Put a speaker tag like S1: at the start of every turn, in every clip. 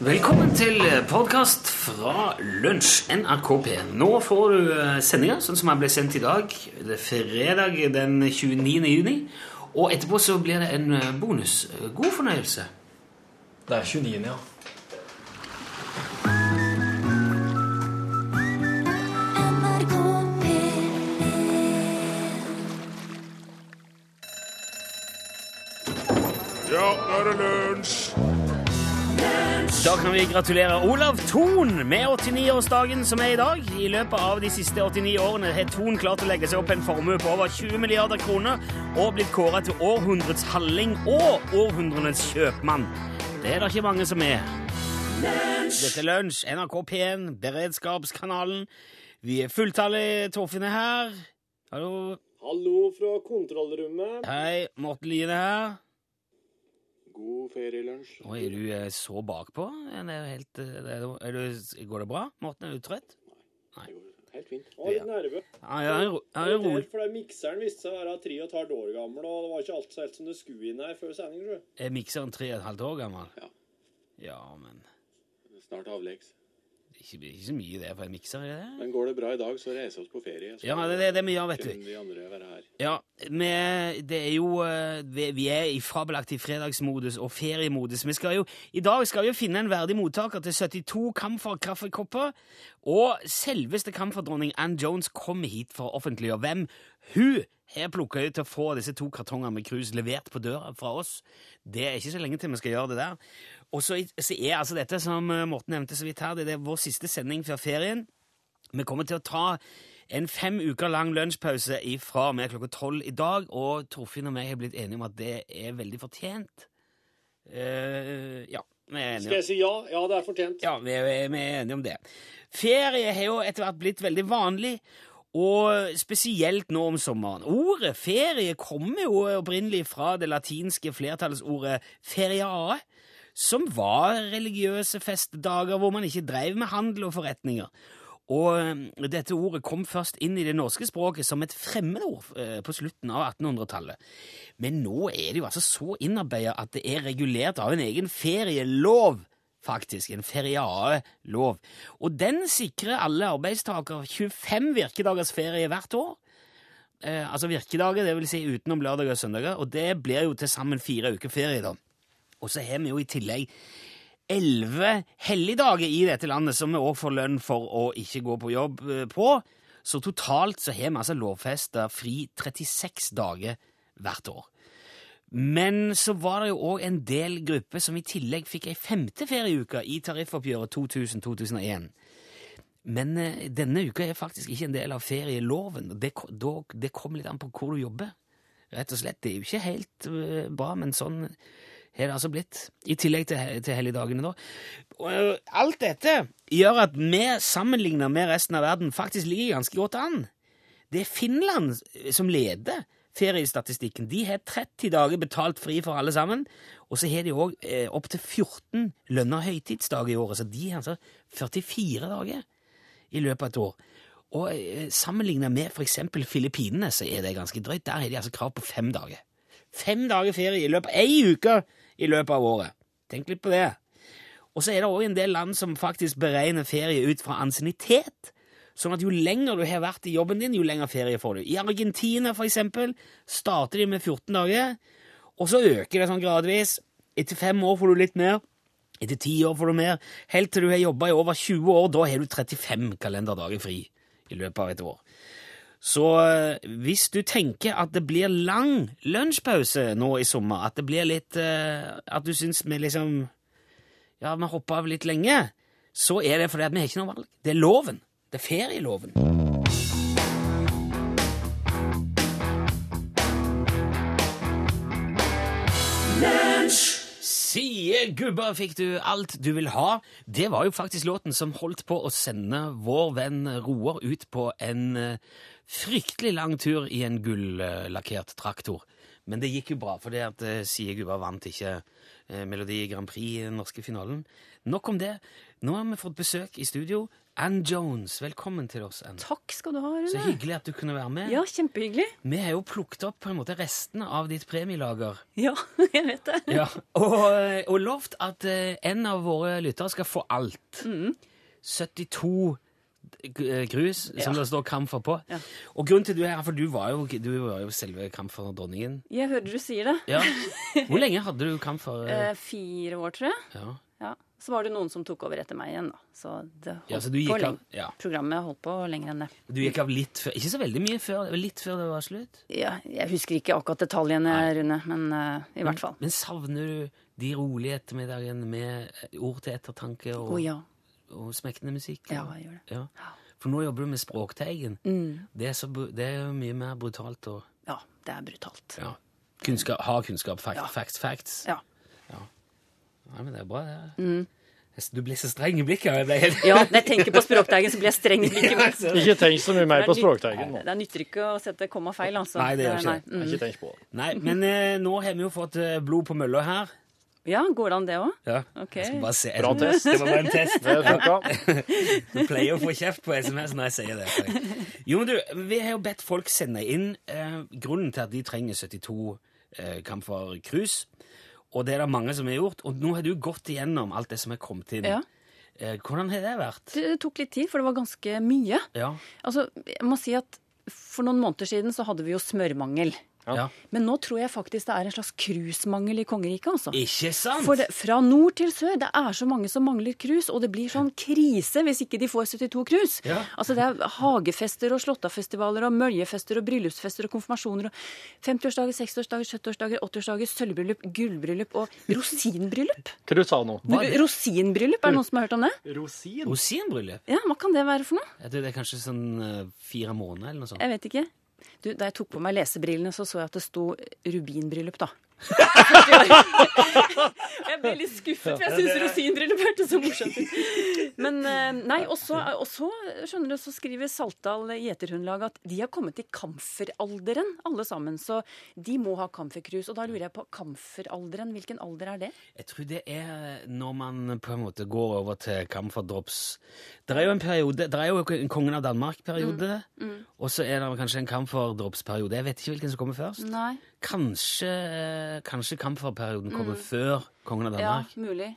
S1: Velkommen til podkast fra Lunsj, NRK P1. Nå får du eh, sendinga sånn som den ble sendt i dag. Det er fredag den 29. juni. Og etterpå så blir det en eh, bonus. God fornøyelse.
S2: Det er 29, ja.
S3: Ja, nå er det lunsj!
S1: Da kan vi gratulere Olav Thon med 89-årsdagen som er i dag. I løpet av de siste 89 årene har Thon klart å legge seg opp en formue på over 20 milliarder kroner og blitt kåra til århundrets halling og århundrenes kjøpmann. Det er det ikke mange som er. Dette er Lunsj, NRK P1, Beredskapskanalen. Vi er fulltallige. Torfinn er her. Hallo.
S4: Hallo fra kontrollrommet.
S1: Hei, Morten Lien er her.
S4: God ferielunsj.
S1: Nå er du eh, så bakpå. Det er jo helt, eh, det er, jo- er du, går det bra? Morten, er du trøtt?
S4: Det går Helt fint. Jeg var litt nerve.
S1: Ja, ja, ro- ja,
S4: Det er
S1: ro-
S4: for det mikseren viste seg å være tre og et halvt år gammel, og det var ikke alt så helt som det skulle inn her før sending, tror jeg.
S1: Er mikseren tre og et halvt år gammel?
S4: Ja.
S1: Ja, men
S4: Snart avleggs.
S1: det er ikke, det er ikke så mye det for en mikser. er det?
S4: Men går det bra i dag, så reiser vi oss på ferie. Så
S1: Ja, det det er det vi gjør, vet du.
S4: kan de andre være her.
S1: Ja, vi, det er jo eh, Vi vi er i fabelaktig fredagsmodus og feriemodus. Vi skal jo, I dag skal vi jo finne en verdig mottaker til 72 Camphor-kaffekopper. Og selveste Camphor-dronning Ann Jones kommer hit for å offentliggjøre hvem hun har plukka ut til å få disse to kartongene med krus levert på døra fra oss. Det er ikke så lenge til vi skal gjøre det der. Og så så er altså dette, som eh, Morten nevnte så vidt her, det er vår siste sending før ferien. Vi kommer til å ta en fem uker lang lunsjpause ifra og med klokka tolv i dag, og Torfinn og jeg har blitt enige om at det er veldig fortjent. Eh, ja, vi er enige.
S4: Skal jeg si ja? Ja, det er fortjent.
S1: Ja, vi er, vi er enige om det. Ferie har jo etter hvert blitt veldig vanlig, og spesielt nå om sommeren. Ordet ferie kommer jo opprinnelig fra det latinske flertallsordet feriae, som var religiøse festdager hvor man ikke drev med handel og forretninger. Og eh, dette ordet kom først inn i det norske språket som et fremmedord eh, på slutten av 1800-tallet. Men nå er det jo altså så innarbeidet at det er regulert av en egen ferielov, faktisk. En feriaelov. Og den sikrer alle arbeidstakere 25 virkedagers ferie hvert år. Eh, altså virkedager, det vil si utenom lørdager og søndager, og det blir jo til sammen fire uker ferie, da. Og så har vi jo i tillegg elleve helligdager i dette landet som vi også får lønn for å ikke gå på jobb eh, på. Så totalt så har vi altså lovfesta fri 36 dager hvert år. Men så var det jo òg en del grupper som i tillegg fikk ei femte ferieuke i tariffoppgjøret 2000-2001. Men eh, denne uka er faktisk ikke en del av ferieloven. og Det, ko- da- det kommer litt an på hvor du jobber. Rett og slett. Det er jo ikke helt eh, bra, men sånn har det altså blitt. I tillegg til, he- til helligdagene, da. Og, eh, alt dette gjør at vi, sammenligna med resten av verden, faktisk ligger ganske godt an. Det er Finland som leder feriestatistikken. De har 30 dager betalt fri for alle sammen, og så har de òg eh, opptil 14 lønna høytidsdager i året, så de har altså 44 dager i løpet av et år. Og eh, sammenlignet med for eksempel Filippinene, så er det ganske drøyt. Der har de altså krav på fem dager. Fem dager ferie i løpet av ei uke i løpet av året. Tenk litt på det. Og så er det òg en del land som faktisk beregner ferie ut fra ansiennitet. Sånn at jo lenger du har vært i jobben din, jo lenger ferie får du. I Argentina, for eksempel, starter de med 14 dager, og så øker det sånn gradvis. Etter fem år får du litt mer. Etter ti år får du mer, helt til du har jobba i over 20 år. Da har du 35 kalenderdager fri i løpet av et år. Så eh, hvis du tenker at det blir lang lunsjpause nå i sommer, at det blir litt eh, At du syns vi liksom Ja, vi hopper av litt lenge, så er det fordi at vi har ikke noe valg. Det er loven. Det er ferieloven. Sie gubba fikk du alt du vil ha. Det var jo faktisk låten som holdt på å sende vår venn Roar ut på en eh, fryktelig lang tur i en gulllakkert traktor. Men det gikk jo bra, fordi at eh, Sie gubba vant ikke eh, Melodi Grand Prix i den norske finalen. Nok om det. Nå har vi fått besøk i studio. Ann Jones, velkommen til oss, Ann.
S5: Takk skal du ha,
S1: Så
S5: Rune.
S1: hyggelig at du kunne være med.
S5: Ja, kjempehyggelig.
S1: Vi har jo plukket opp på en måte restene av ditt premielager.
S5: Ja, jeg vet det.
S1: Ja, og, og lovt at eh, en av våre lyttere skal få alt.
S5: Mm.
S1: 72 g- eh, grus, som det står Kamfer på.
S5: Ja.
S1: Og grunnen til du er her, for du var jo, du var jo selve Kamfer-dronningen.
S5: Jeg hører du sier det.
S1: Ja. Hvor lenge hadde du Kamfer? eh,
S5: Eh, fire år, tror jeg.
S1: Ja.
S5: Ja. Så var det noen som tok over etter meg igjen, da. Så det holdt
S1: Ja, så du
S5: på
S1: gikk, av,
S5: lenge.
S1: ja.
S5: Programmet holdt på lenger enn det.
S1: du gikk av litt før, ikke så veldig mye før, litt før det var slutt.
S5: Ja, jeg husker ikke akkurat detaljene, Rune, men eh, i hvert fall.
S1: Men savner du de rolige ettermiddagene med ord til ettertanke og,
S5: Å ja.
S1: og smekkende musikk?
S5: Ja, Mm. jeg gjør det.
S1: Ja. For nå jobber du med Språkteigen. Det, er så, bru- det er jo mye mer brutalt og
S5: Ja, det er brutalt.
S1: ja. kunnskap, ha kunnskap. Fact, Facts, facts.
S5: Ja. Mm.
S1: Nei, men det er bra, det. Jeg s- Du ble så streng i blikket. og Jeg ble helt...
S5: Ja, når jeg tenker på Språkteigen, så blir jeg streng i blikket.
S2: Ikke tenk så mye mer på
S5: nytt-
S2: Språkteigen nå.
S5: Det nytter ikke å sette komma feil, altså.
S1: Nei, det gjør ikke
S5: nei.
S2: Ikke tenk på det.
S1: Nei, men eh, nå har vi jo fått eh, blod på mølla her.
S5: Mm. Ja, går det an det òg?
S1: Ja.
S5: Ok.
S1: Jeg skal bare se.
S2: Bra test.
S1: Det var bare en test.
S2: Det funka.
S1: Du pleier å få kjeft på SMS når jeg sier det. Jo, men du, Vi har jo bedt folk sende inn eh, grunnen til at de trenger 72 eh, Camphor Cruise. Og det er det mange som har gjort. Og nå har du gått igjennom alt det som er kommet inn.
S5: Ja.
S1: Eh, hvordan har det vært?
S5: Det tok litt tid, for det var ganske mye.
S1: Ja.
S5: Altså, jeg må si at For noen måneder siden så hadde vi jo smørmangel.
S1: ja.
S5: Men nå tror jeg faktisk det er en slags cruisemangel i kongeriket. altså.
S1: Ikke sant?
S5: For det, fra nord til sør, det er så mange som mangler krus, og det blir sånn krise hvis ikke de får 72 krus.
S1: Ja.
S5: Altså det er hagefester og slåttafestivaler og møljefester og bryllupsfester og konfirmasjoner og 50-årsdager, 60-årsdager, 70-årsdager, 80-årsdager, sølvbryllup, gullbryllup og rosinbryllup.
S2: Hva du sa du nå?
S5: Rosinbryllup, er det noen som har hørt om det?
S2: Rosin?
S1: Rosinbryllup?
S5: Ja, hva kan det være for noe?
S1: Jeg tror det er kanskje sånn eh, fire måneder eller noe sånt.
S5: Jeg vet ikke. Du, da jeg tok på meg lesebrillene, så så jeg at det sto rubinbryllup, da. jeg ble litt skuffet, for jeg syns rosinbryllup hørtes så morsomt ut. Men eh, nei, og så og så, skjønner du, så skriver Saltdal Gjeterhundlag at de har kommet i kamferalderen, alle sammen. Så de må ha kamferkrus. Og da lurer jeg på kamferalderen, hvilken alder er det?
S1: Jeg tror det er når man på en måte går over til Camphor-drops. Det er jo en periode, det er jo en Kongen av Danmark-periode,
S5: Mm,
S1: og så er det kanskje en Camphor-drops-periode. Jeg vet ikke hvilken som kommer først.
S5: Nei.
S1: Kanskje, kanskje Camphor-perioden kommer før Kongen av
S5: Mm. Ja,
S1: Danmark.
S5: mulig.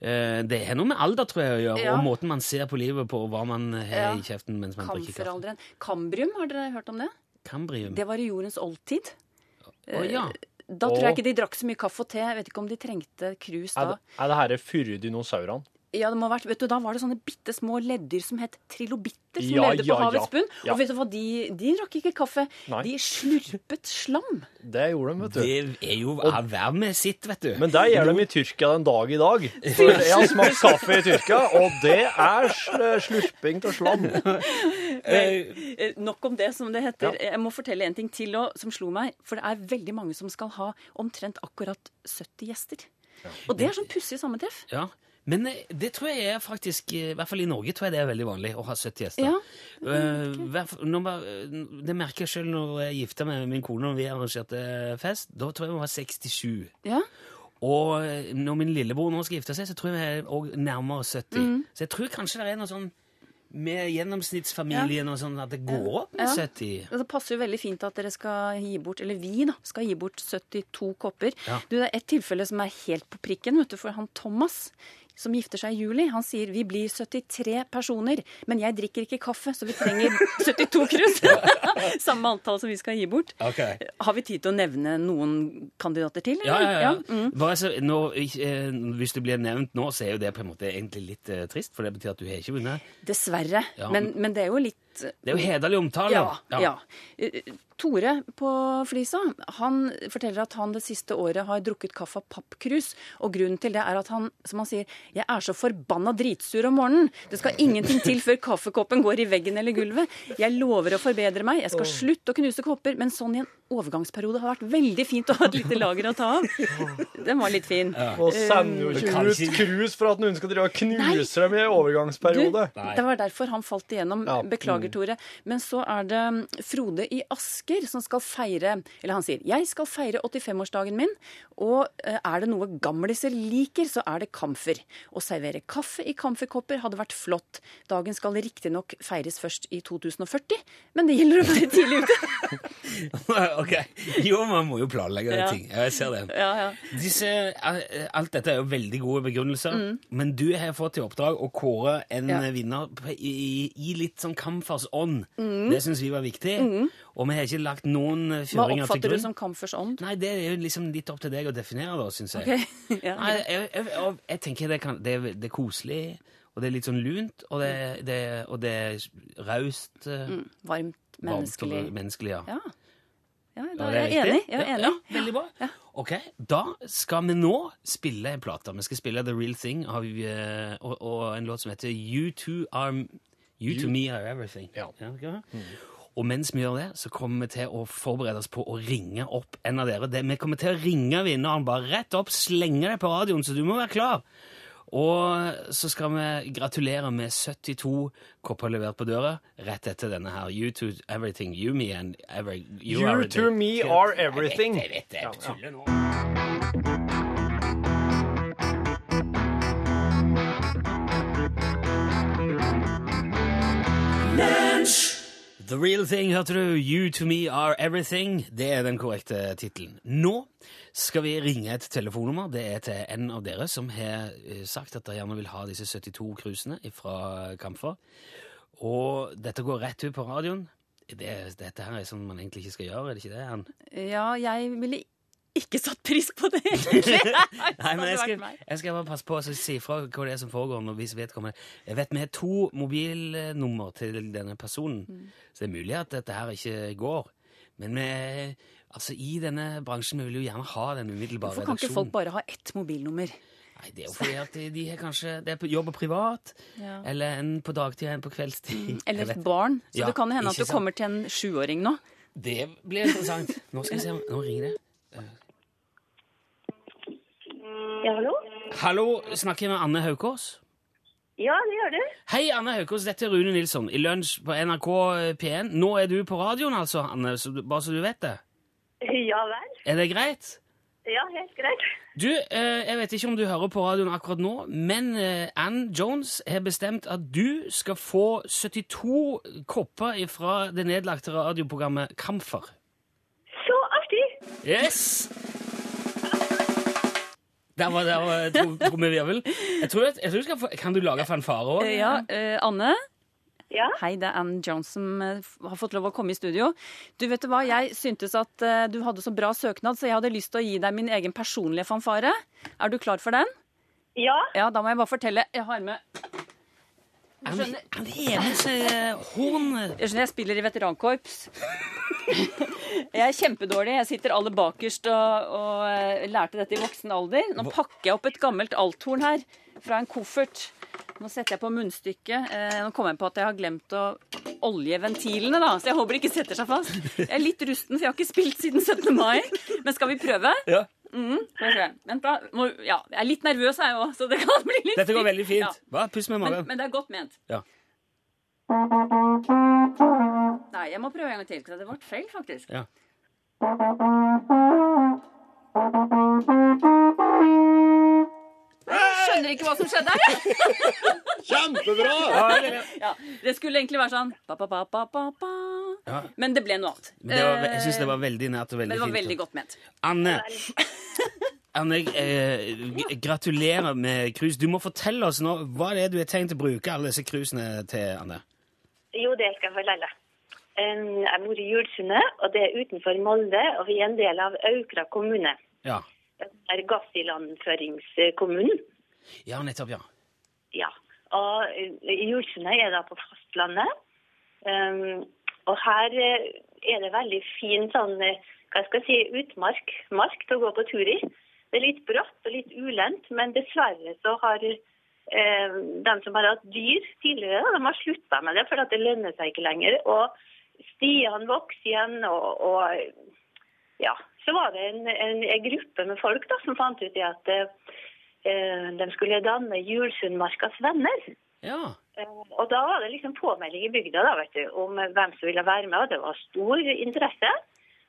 S1: Eh, Det har noe med alder, tror jeg, å gjøre,
S5: Ja.
S1: og måten man ser på livet på, og hva man har
S5: Ja.
S1: i kjeften mens man drikker kaffe.
S5: Kamferalderen. Kambrium, har dere hørt om det?
S1: Cambrium.
S5: Det var i jordens oldtid.
S1: Å ja.
S5: Da tror jeg
S2: Og-
S5: ikke de drakk så mye kaffe og te. Jeg vet ikke om de trengte krus
S2: Er
S5: da.
S2: det, er det her furudinosaurene?
S5: Ja, det må ha vært, vet du, Da var det sånne bitte små leddyr som het trilobitter, som
S2: Ja,
S5: levde på
S2: ja, ja.
S5: havets bunn.
S2: Ja.
S5: Og vet du hva, de, de drakk ikke kaffe.
S2: Nei.
S5: De slurpet slam.
S2: Det gjorde de, vet du.
S1: Det er jo hver med sitt, vet du.
S2: Men det gjør de i Tyrkia den dag i dag. For jeg har smakt kaffe i Tyrkia, og det er sl- slurping av slam.
S5: Eh, Nok om det, som det heter.
S2: Ja.
S5: Jeg må fortelle en ting til og, som slo meg. For det er veldig mange som skal ha omtrent akkurat 70 gjester. Og det er sånn pussig sammentreff.
S1: Ja, men eh, det tror jeg er faktisk eh, I hvert fall i Norge tror jeg det er veldig vanlig å ha 70 gjester.
S5: Ja,
S1: Eh, hvert fall- når man- eh, det merker jeg sjøl når jeg gifta meg med min kone og vi arrangerte fest. Da tror jeg vi var 67.
S5: Ja,
S1: Og eh, når min lillebror nå skal gifte seg, så tror jeg vi er også nærmere 70.
S5: Mm.
S1: Så jeg tror kanskje det er noe sånn med gjennomsnittsfamilien og sånn at det går opp med
S5: Ja.
S1: 70.
S5: Altså, Det passer jo veldig fint at dere skal gi bort, eller vi da, skal gi bort 72 kopper.
S1: Ja.
S5: Du, det er et tilfelle som er helt på prikken, vet du, for han Thomas, som gifter seg i juli, han sier vi blir 73 personer, men jeg drikker ikke kaffe, så vi trenger 72 krus. Samme antall som vi skal gi bort. Har vi tid til å nevne noen kandidater til?
S1: Ja, ja,
S5: eller?
S1: ja.
S5: Mm.
S1: Bare så, nå, ikke, eh, hvis det blir nevnt nå, så er jo det på en måte egentlig litt eh, trist, for det betyr at du har ikke vunnet.
S5: Dessverre.
S1: Ja.
S5: Men, men det er jo litt
S1: Det er jo hederlig omtale.
S5: Ja, ja. Eh, Tore på Flisa han forteller at han det siste året har drukket kaffe av pappkrus. Og grunnen til det er at han som han sier, jeg er så forbanna dritsur om morgenen. Det skal ingenting til før kaffekoppen går i veggen eller gulvet. Jeg lover å forbedre meg. Jeg skal slutte å knuse kopper. Men sånn i en overgangsperiode har vært veldig fint å ha et lite lager å ta av. Den var litt fin.
S2: Og sender jo
S1: Men
S2: ikke
S1: kanskje-
S2: ut krus for at noen skal drive og knuse dem i en overgangsperiode.
S5: Du, det var derfor han falt igjennom.
S2: Ja.
S5: Beklager, Tore. Men så er det mm, Frode i Aske mennesker som skal feire Eller han sier jeg skal feire 85-årsdagen min, og eh, er det noe gamliser liker, så er det kamfer. Å servere kaffe i kamferkopper hadde vært flott. Dagen skal riktignok feires først i 2040, men det gjelder å være tidlig ute.
S1: ok. Jo, man må jo planlegge
S5: Ja.
S1: den ting. Ja, jeg ser det.
S5: Ja, ja.
S1: Disse, eh, alt dette er jo veldig gode begrunnelser, men du har fått i oppdrag å kåre en
S5: Mm. Ja.
S1: eh, vinner på- i, i litt sånn kamfers ånd. Det syns vi var viktig, og vi har ikke lagt noen eh,
S5: Mm. Hva
S1: føringer til
S5: oppfatter du
S1: grunn.
S5: som kamfers ånd?
S1: Nei, det er jo liksom litt opp til deg å definere, da, syns jeg.
S5: Ok, ja.
S1: Nei, jeg, jeg, jeg, jeg tenker det, kan, det, er, det er koselig, og det er litt sånn lunt, og det, det, og det er raust. eh,
S5: Varmt,
S1: varmt og
S5: Mm. menneskelig
S1: menneskelig ja.
S5: Ja, ja da
S1: Ja, det
S5: er jeg
S1: er
S5: enig.
S1: riktig.
S5: Jeg er
S1: Ja,
S5: enig.
S1: Ja, veldig bra. Ok, da skal vi nå spille en plate. Vi skal spille The Real Thing av, eh, og, og en låt som heter You Two Are You, To Me Are Everything.
S2: Ja.
S1: ok. Og mens vi gjør det, så kommer vi til å forberede oss på å ringe opp en av dere. Det, vi kommer til å ringe vinneren bare rett opp, slenge deg på radioen, så du må være klar. Og så skal vi gratulere med 72 kopper levert på døra rett etter denne her. You to everything, you me and ever, you,
S2: You
S1: are
S2: to
S1: the-
S2: me are everything.
S1: Jeg vet det, jeg vet det. Jeg tuller nå. The Real Thing, hørte du? You to me are everything. Det er den korrekte tittelen. Nå skal vi ringe et telefonnummer. Det er til en av dere som har eh, sagt at de gjerne vil ha disse 72 krusene fra Kamfer. Og dette går rett ut på radioen. Det, dette her er sånn man egentlig ikke skal gjøre, er det ikke det? Ann?
S5: Ja, jeg ville ikke satt pris på det, egentlig.
S1: Nei, men jeg
S5: Hadde vært
S1: skal,
S5: meg.
S1: jeg skal bare passe på å si ifra hva det er som foregår. når vi vedkommende. Jeg vet vi har to mobilnummer til denne personen,
S5: Mm.
S1: så det er mulig at dette her ikke går. Men vi, altså, i denne bransjen vi vil jo gjerne ha den umiddelbare
S5: Hvorfor kan ikke folk
S1: redaksjonen.
S5: bare ha ett mobilnummer?
S1: Nei, det er jo fordi at de, de har kanskje det er på jobb og privat,
S5: Ja. Mm.
S1: eller en på dagtid og en på kveldstid. Jeg
S5: Eller
S1: vet-
S5: et barn. Så
S1: Ja,
S5: det kan jo hende at
S1: ikke
S5: du
S1: sant?
S5: kommer til en sjuåring nå.
S1: Det blir interessant. Nå skal vi se om Nå ringer det. Eh.
S6: Ja, hallo?
S1: Hallo, snakker jeg med Anne Haukås?
S6: Ja, det gjør du.
S1: Hei, Anne Haukås. Dette er Rune Nilsson i Lunsj på NRK eh, P1. Nå er du på radioen, altså, Anne, så du, bare så du vet det.
S6: Ja vel.
S1: Er det greit?
S6: Ja, helt greit.
S1: Du, eh, jeg vet ikke om du hører på radioen akkurat nå, men eh, Ann Jones har bestemt at du skal få 72 kopper fra det nedlagte radioprogrammet Kamfer.
S6: Så artig!
S1: Yes! Der var, der var tro- trommevirvel. Jeg tror, jeg tror du skal få Kan du lage fanfare òg?
S5: Ja, eh, Anne.
S6: Ja.
S5: Hei, det er Ann Jones som eh, f- har fått lov å komme i studio. Du vet du hva, Jeg syntes at eh, du hadde så bra søknad, så jeg hadde lyst til å gi deg min egen personlige fanfare. Er du klar for den?
S6: Ja.
S5: Ja, da må jeg bare fortelle. Jeg har med
S1: Han, han har med seg eh, horn.
S5: Jeg skjønner, jeg spiller i veterankorps. Jeg er kjempedårlig. Jeg sitter aller bakerst og, og eh, lærte dette i voksen alder. Nå pakker jeg opp et gammelt althorn her fra en koffert. Nå setter jeg på munnstykket. Eh, Nå kom jeg på at jeg har glemt å olje ventilene, da. Så jeg håper det ikke setter seg fast. Jeg er litt rusten, for jeg har ikke spilt siden 17. mai. Men skal vi prøve?
S1: Ja.
S5: Skal vi se. Vent, da. Må, ja, jeg er litt nervøs, jeg òg, så det kan bli litt
S1: Dette går
S5: stygt.
S1: veldig fint.
S5: Ja.
S1: Hva? Pust med
S5: Men,
S1: magen.
S5: men det er godt ment.
S1: Ja.
S5: Nei, jeg må prøve en gang til. for Det ble feil, faktisk.
S1: Ja.
S5: Jeg skjønner ikke hva som skjedde her.
S2: Kjempebra!
S5: Ja, det skulle egentlig være sånn ba, ba, ba, ba, ba, ba.
S1: Ja.
S5: Men det ble noe annet. Eh,
S1: Men Det var, jeg syns det var veldig nært og veldig
S5: Men det var
S1: fint.
S5: veldig godt ment.
S1: Anne, Anne eh, g- gratulerer med krus. Du må fortelle oss nå hva det er du har tenkt å bruke alle disse krusene til, Anne.
S6: Jo, det skal jeg fortelle. Um, Jeg bor i Julsundet, og det er utenfor Molde, og vi er en del av Aukra kommune.
S1: Ja,
S6: Det er gassilandføringskommunen.
S1: ja nettopp, ja.
S6: Ja. Og eh, i Julsundet er jeg da på fastlandet. Um, og her eh, er det veldig fin sånn, eh, hva skal jeg si, utmark, mark til å gå på tur i. Det er litt bratt og litt ulendt, men dessverre så har eh, de som har hatt dyr tidligere, da, de har slutta med det, for at det lønner seg ikke lenger. Og stiene vokser igjen, og, og ja, så var det en, en, en gruppe med folk da, som fant ut i at eh, eh, de skulle danne Julsundmarkas venner.
S1: Ja,
S6: Eh, Og da var det liksom påmelding i bygda da, vet du, om hvem som ville være med, og det var stor interesse.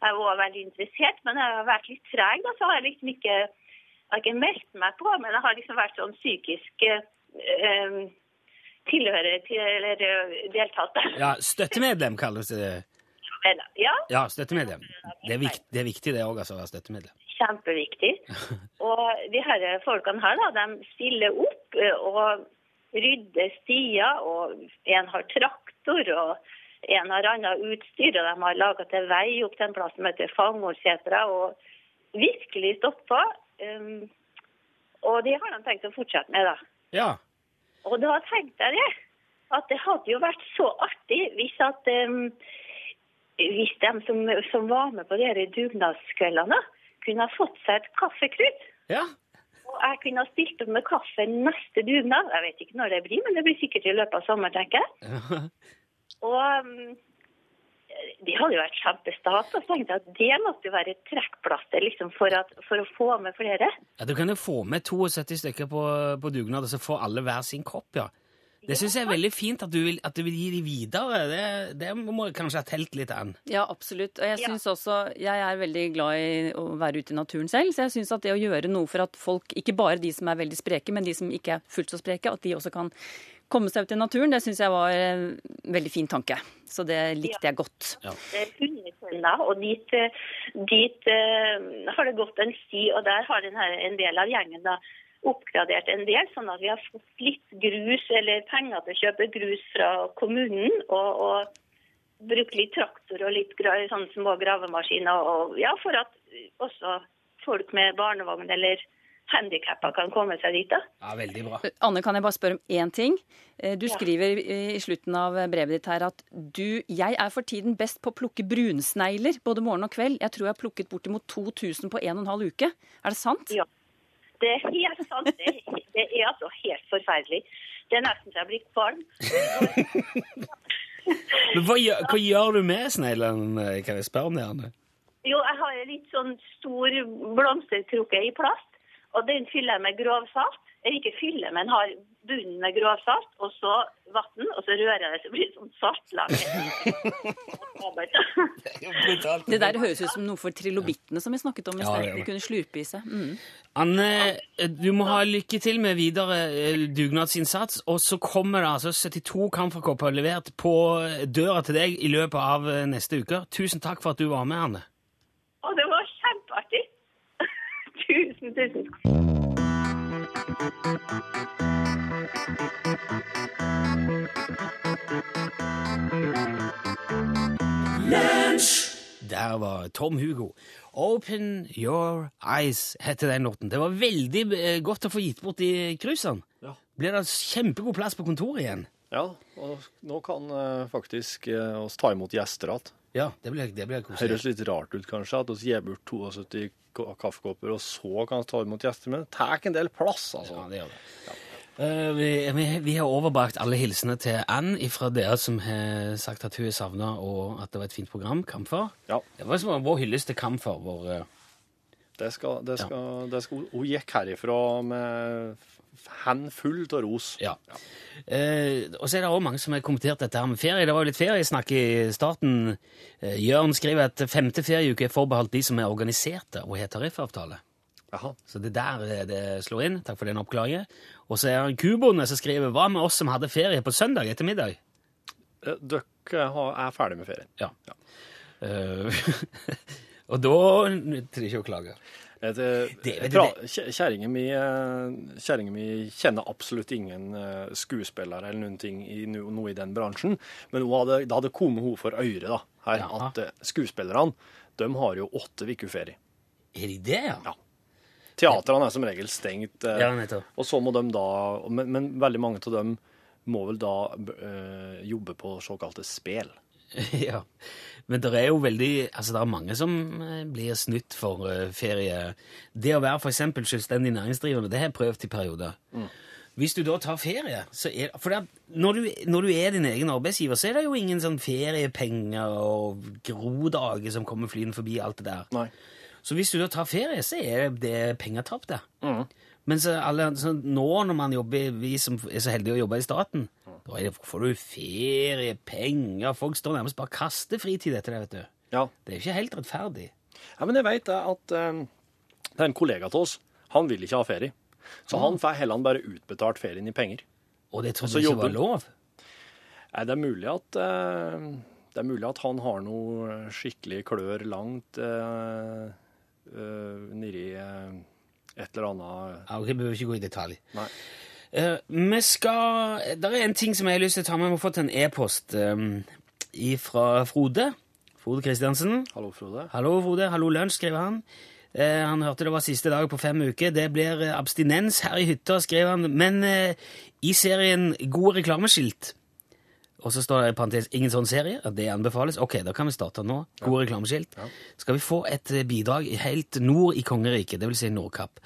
S6: Jeg var veldig interessert, men jeg har vært litt treg, da, så har jeg liksom ikke, jeg har ikke meldt meg på. Men jeg har liksom vært sånn psykisk eh, tilhører til, eller eh, deltatt. da.
S1: Ja, Støttemedlem kalles det.
S6: Men, ja,
S1: Ja, støttemedlem. Det er, vikt, det er viktig det òg, altså, å være støttemedlem.
S6: kjempeviktig. Og de her folkene her, da, de stiller opp eh, og rydder stier, og en har traktor, og en har annet utstyr, og de har laget til vei opp til en plass som heter Fangorsetra, og virkelig stoppa. Um, og det har de tenkt å fortsette med, da.
S1: Ja.
S6: Og da tenkte jeg det, at det hadde jo vært så artig hvis at em, hvis de som, som var med på de her dugnadskveldene, kunne ha fått seg et kaffekrutt.
S1: Ja.
S6: Og jeg kunne ha stilt opp med kaffe neste dugnad. Jeg vet ikke når det blir, men det blir sikkert i løpet av sommeren, tenker jeg. Og em, det hadde jo vært kjempestas. Og så tenkte jeg at det måtte jo være et trekkplaster liksom, for, at, for å få med flere.
S1: ja du kan jo få med 72 stykker på, på dugnad, og så får alle hver sin kopp, ja. Det syns jeg er veldig fint at du vil, at du vil gi de videre. Det, det må jeg kanskje ha telt litt an.
S5: Ja, absolutt. Og jeg
S6: Ja.
S5: synes også, jeg er veldig glad i å være ute i naturen selv, så jeg syns at det å gjøre noe for at folk, ikke bare de som er veldig spreke, men de som ikke er fullt så spreke, at de også kan komme seg ut i naturen, det syns jeg var en veldig fin tanke. Så det likte jeg godt.
S6: eh, hundetønna, og dit, eh, dit eh, har det gått en sti, og der har den her, en del av gjengen da oppgradert en del, sånn at vi har fått litt grus, eller penger til å kjøpe grus fra kommunen, og, og brukt litt traktor og litt gra- sånn små gravemaskiner, og ja, for at også folk med barnevogn eller handikappa kan komme seg dit da.
S1: Ja, veldig bra.
S5: Anne, kan jeg bare spørre om én ting? Eh, Du
S6: Ja.
S5: skriver i slutten av brevet ditt her at du Jeg er for tiden best på å plukke brunsnegler både morgen og kveld. Jeg tror jeg har plukket bortimot 2000 på en og en halv uke. Er det sant?
S6: Ja. Det er helt sant. Det, det er altså helt forferdelig. Det er nesten så jeg blir kvalm.
S1: Men hva, gjør- hva gjør du med sneglene? Kan jeg spørre om det, Anne?
S6: Jo, jeg har en litt sånn stor blomsterkrukke i plast, og den fyller jeg med grovsalt. Eller ikke fyller, men har bunnen med grovsalt, og så vann, og så rører jeg det, så blir det sånn saltlage.
S5: Det der høres ut som noe for trilobittene som vi snakket om i
S1: Ja,
S5: sted.
S1: det gjør
S5: De
S1: det.
S5: kunne slurpe i seg. Mm.
S1: Anne, eh, du må ha lykke til med videre eh, dugnadsinnsats, og så kommer det altså 72 kamferkopper levert på døra til deg i løpet av eh, neste uke. Tusen takk for at du var med, Anne.
S6: Og det var kjempeartig. Tusen, tusen takk.
S1: Der var Tom Hugo. Open Your Eyes heter den låten. Det var veldig eh, godt å få gitt bort de cruisene.
S2: Ja.
S1: Blir det kjempegod plass på kontoret igjen?
S2: Ja, og nå kan eh, faktisk eh, oss ta imot gjester igjen.
S1: Ja, det blir, det blir koselig.
S2: Høres litt rart ut kanskje at oss gir bort 72 ka- kaffekopper, og så kan vi ta imot gjester, men det tar en del plass, altså.
S1: Ja, det gjør det. Eh, vi, vi, vi har overbrakt alle hilsener til Ann fra dere som har sagt at hun er savna, og at det var et fint program. Kamfer.
S2: Ja,
S1: Det var som vår hyllest til Kamfer. Vår, eh,
S2: det skal, det skal, det skal Hun gikk herifra med f- hand full av ros.
S1: Ja. Eh, og så er det også mange som har kommentert dette her med ferie. Det var jo litt feriesnakk i starten. Eh, Jørn skriver at femte ferieuke er forbeholdt de som er organiserte og har tariffavtale.
S2: Jaha.
S1: Så det der eh, det slår inn. Takk for den oppklaringen. Og så er det en kubonde som skriver Hva med oss som hadde ferie på søndag ettermiddag?
S2: Eh, Dere har- er ferdig med ferien.
S1: Ja. Eh, og da nytter det ikke å klage.
S2: Eh, det-
S1: Det- det-
S2: jeg pra- kje- Kjerringa mi, eh, kjerringa mi kjenner absolutt ingen eh, skuespillere eller noen ting i, no, noe i den bransjen, men hun hadde, det hadde kommet henne for øret da, her,
S1: Jaha.
S2: at eh, skuespillerne de har jo åtte uker ferie.
S1: Er de det, ja?
S2: Ja. Teatrene er som regel stengt, eh,
S1: Ja, nettopp.
S2: og så må de da Men, men veldig mange av dem må vel da eh, jobbe på såkalte spel.
S1: ja. Men det er jo veldig Altså, det er mange som eh, blir snytt for eh, ferie. Det å være for eksempel selvstendig næringsdrivende, det har jeg prøvd i perioder. Hvis du da tar ferie, så er For det, er- når, du, når du er din egen arbeidsgiver, så er det jo ingen sånn feriepenger og grodager som kommer flyende forbi alt det der.
S2: Nei.
S1: Så hvis du da tar ferie, så er det pengetap, det. Men så alle, så nå når man jobber, vi som er så heldige å jobbe i staten, Da er det, får du ferie, penger Folk står nærmest bare og kaster fritid etter det, vet du.
S7: Ja.
S1: Det er jo ikke helt rettferdig.
S7: Ja, men jeg vet det at eh, det er en kollega til oss, han vil ikke ha ferie. Så han får heller bare utbetalt ferien i penger.
S1: Og det trodde
S7: Altså,
S1: jeg ikke var
S7: jobben-
S1: lov.
S7: Nei, det er mulig at eh, det er mulig at han har noe skikkelig klør langt eh, eh, nedi eh, et eller annet
S1: Ja, ok, vi behøver ikke gå i detalj.
S7: Nei.
S1: Eh, vi skal Der er en ting som jeg har lyst til å ta med. Vi har fått en e-post eh, fra Frode. Frode Kristiansen.
S7: Hallo, Frode.
S1: Hallo, Frode. Hallo, lunsj, skriver han. Eh, han hørte det var siste dag på fem uker. Det blir eh, abstinens her i hytta, skrev han. Men eh, i serien Gode reklameskilt Og så står det i parentes ingen sånn serie. at Det anbefales. Ok, da kan vi starte nå. Gode reklameskilt. Skal vi få et eh, bidrag helt nord i kongeriket, dvs. Si Nordkapp.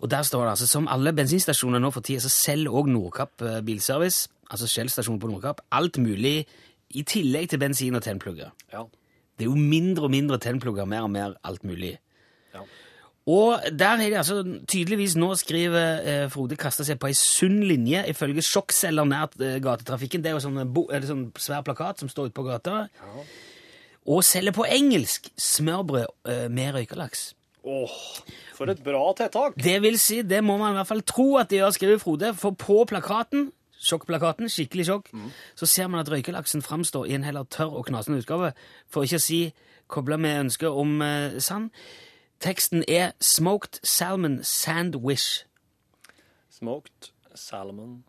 S1: Og der står det altså som alle bensinstasjoner nå for tida, så selger òg Nordkapp eh, Bilservice, altså Shell stasjon på Nordkapp, alt mulig i tillegg til bensin og tennplugger.
S7: Ja.
S1: Det er jo mindre og mindre tennplugger, mer og mer alt mulig.
S7: Ja.
S1: Og der har de altså tydeligvis nå skriver eh, Frode kasta seg på ei sunn linje ifølge sjokkceller nært eh, gatetrafikken. Det er jo sånn, bo, eller sånn svær plakat som står ute på gata. Og selger på engelsk smørbrød eh, med røykelaks.
S7: Åh, for et bra tiltak!
S1: Det vil si, det må man i hvert fall tro at de gjør, skriver Frode, for på plakaten Sjokkplakaten, skikkelig sjokk. Så ser man at røykelaksen framstår i en heller tørr og knasende utgave, for ikke å si kobla med ønsket om eh, sand. Teksten er 'Smoked Salmon Sandwich'.
S7: Smoked salmon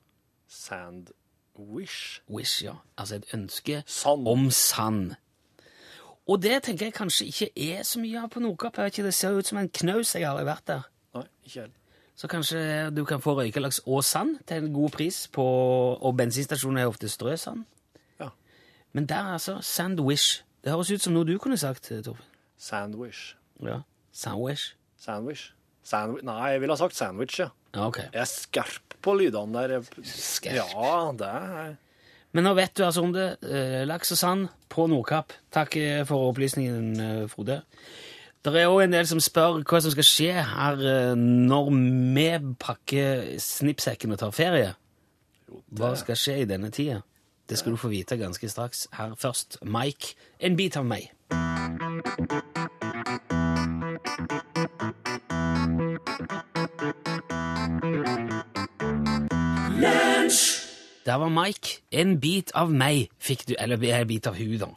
S7: sandwich.
S1: Wish, ja. Altså et ønske
S7: Sand.
S1: om sand. Og det tenker jeg kanskje ikke er så mye av på Nordkapp. Jeg vet ikke, Det ser ut som en knaus. Jeg har aldri vært der.
S7: Nei, ikke helt.
S1: Så kanskje du kan få røykelaks og sand til en god pris, på, og bensinstasjoner er ofte strøsand.
S7: Ja.
S1: Men der, altså, sandwich. Det høres ut som noe du kunne sagt, Torfinn.
S7: Sandwich.
S1: Ja. Sandwich.
S7: Sandwich. Sandwich. Nei, jeg ville ha sagt sandwich, ja.
S1: Ja, ok.
S7: Jeg er skarp på lydene der. Jeg-
S1: Skarp.
S7: Ja, det er
S1: Men nå vet du altså om det. eh, Laks og sand på Nordkapp. Takk eh, for opplysningen, eh, Frode. Det er òg en del som spør hva som skal skje her eh, når vi pakker snippsekken og tar ferie. Hva skal skje i denne tida? Det skal du få vite ganske straks. Her først Mike, en bit av meg. Der var Mike. En bit av meg fikk du, eller en bit av hun da,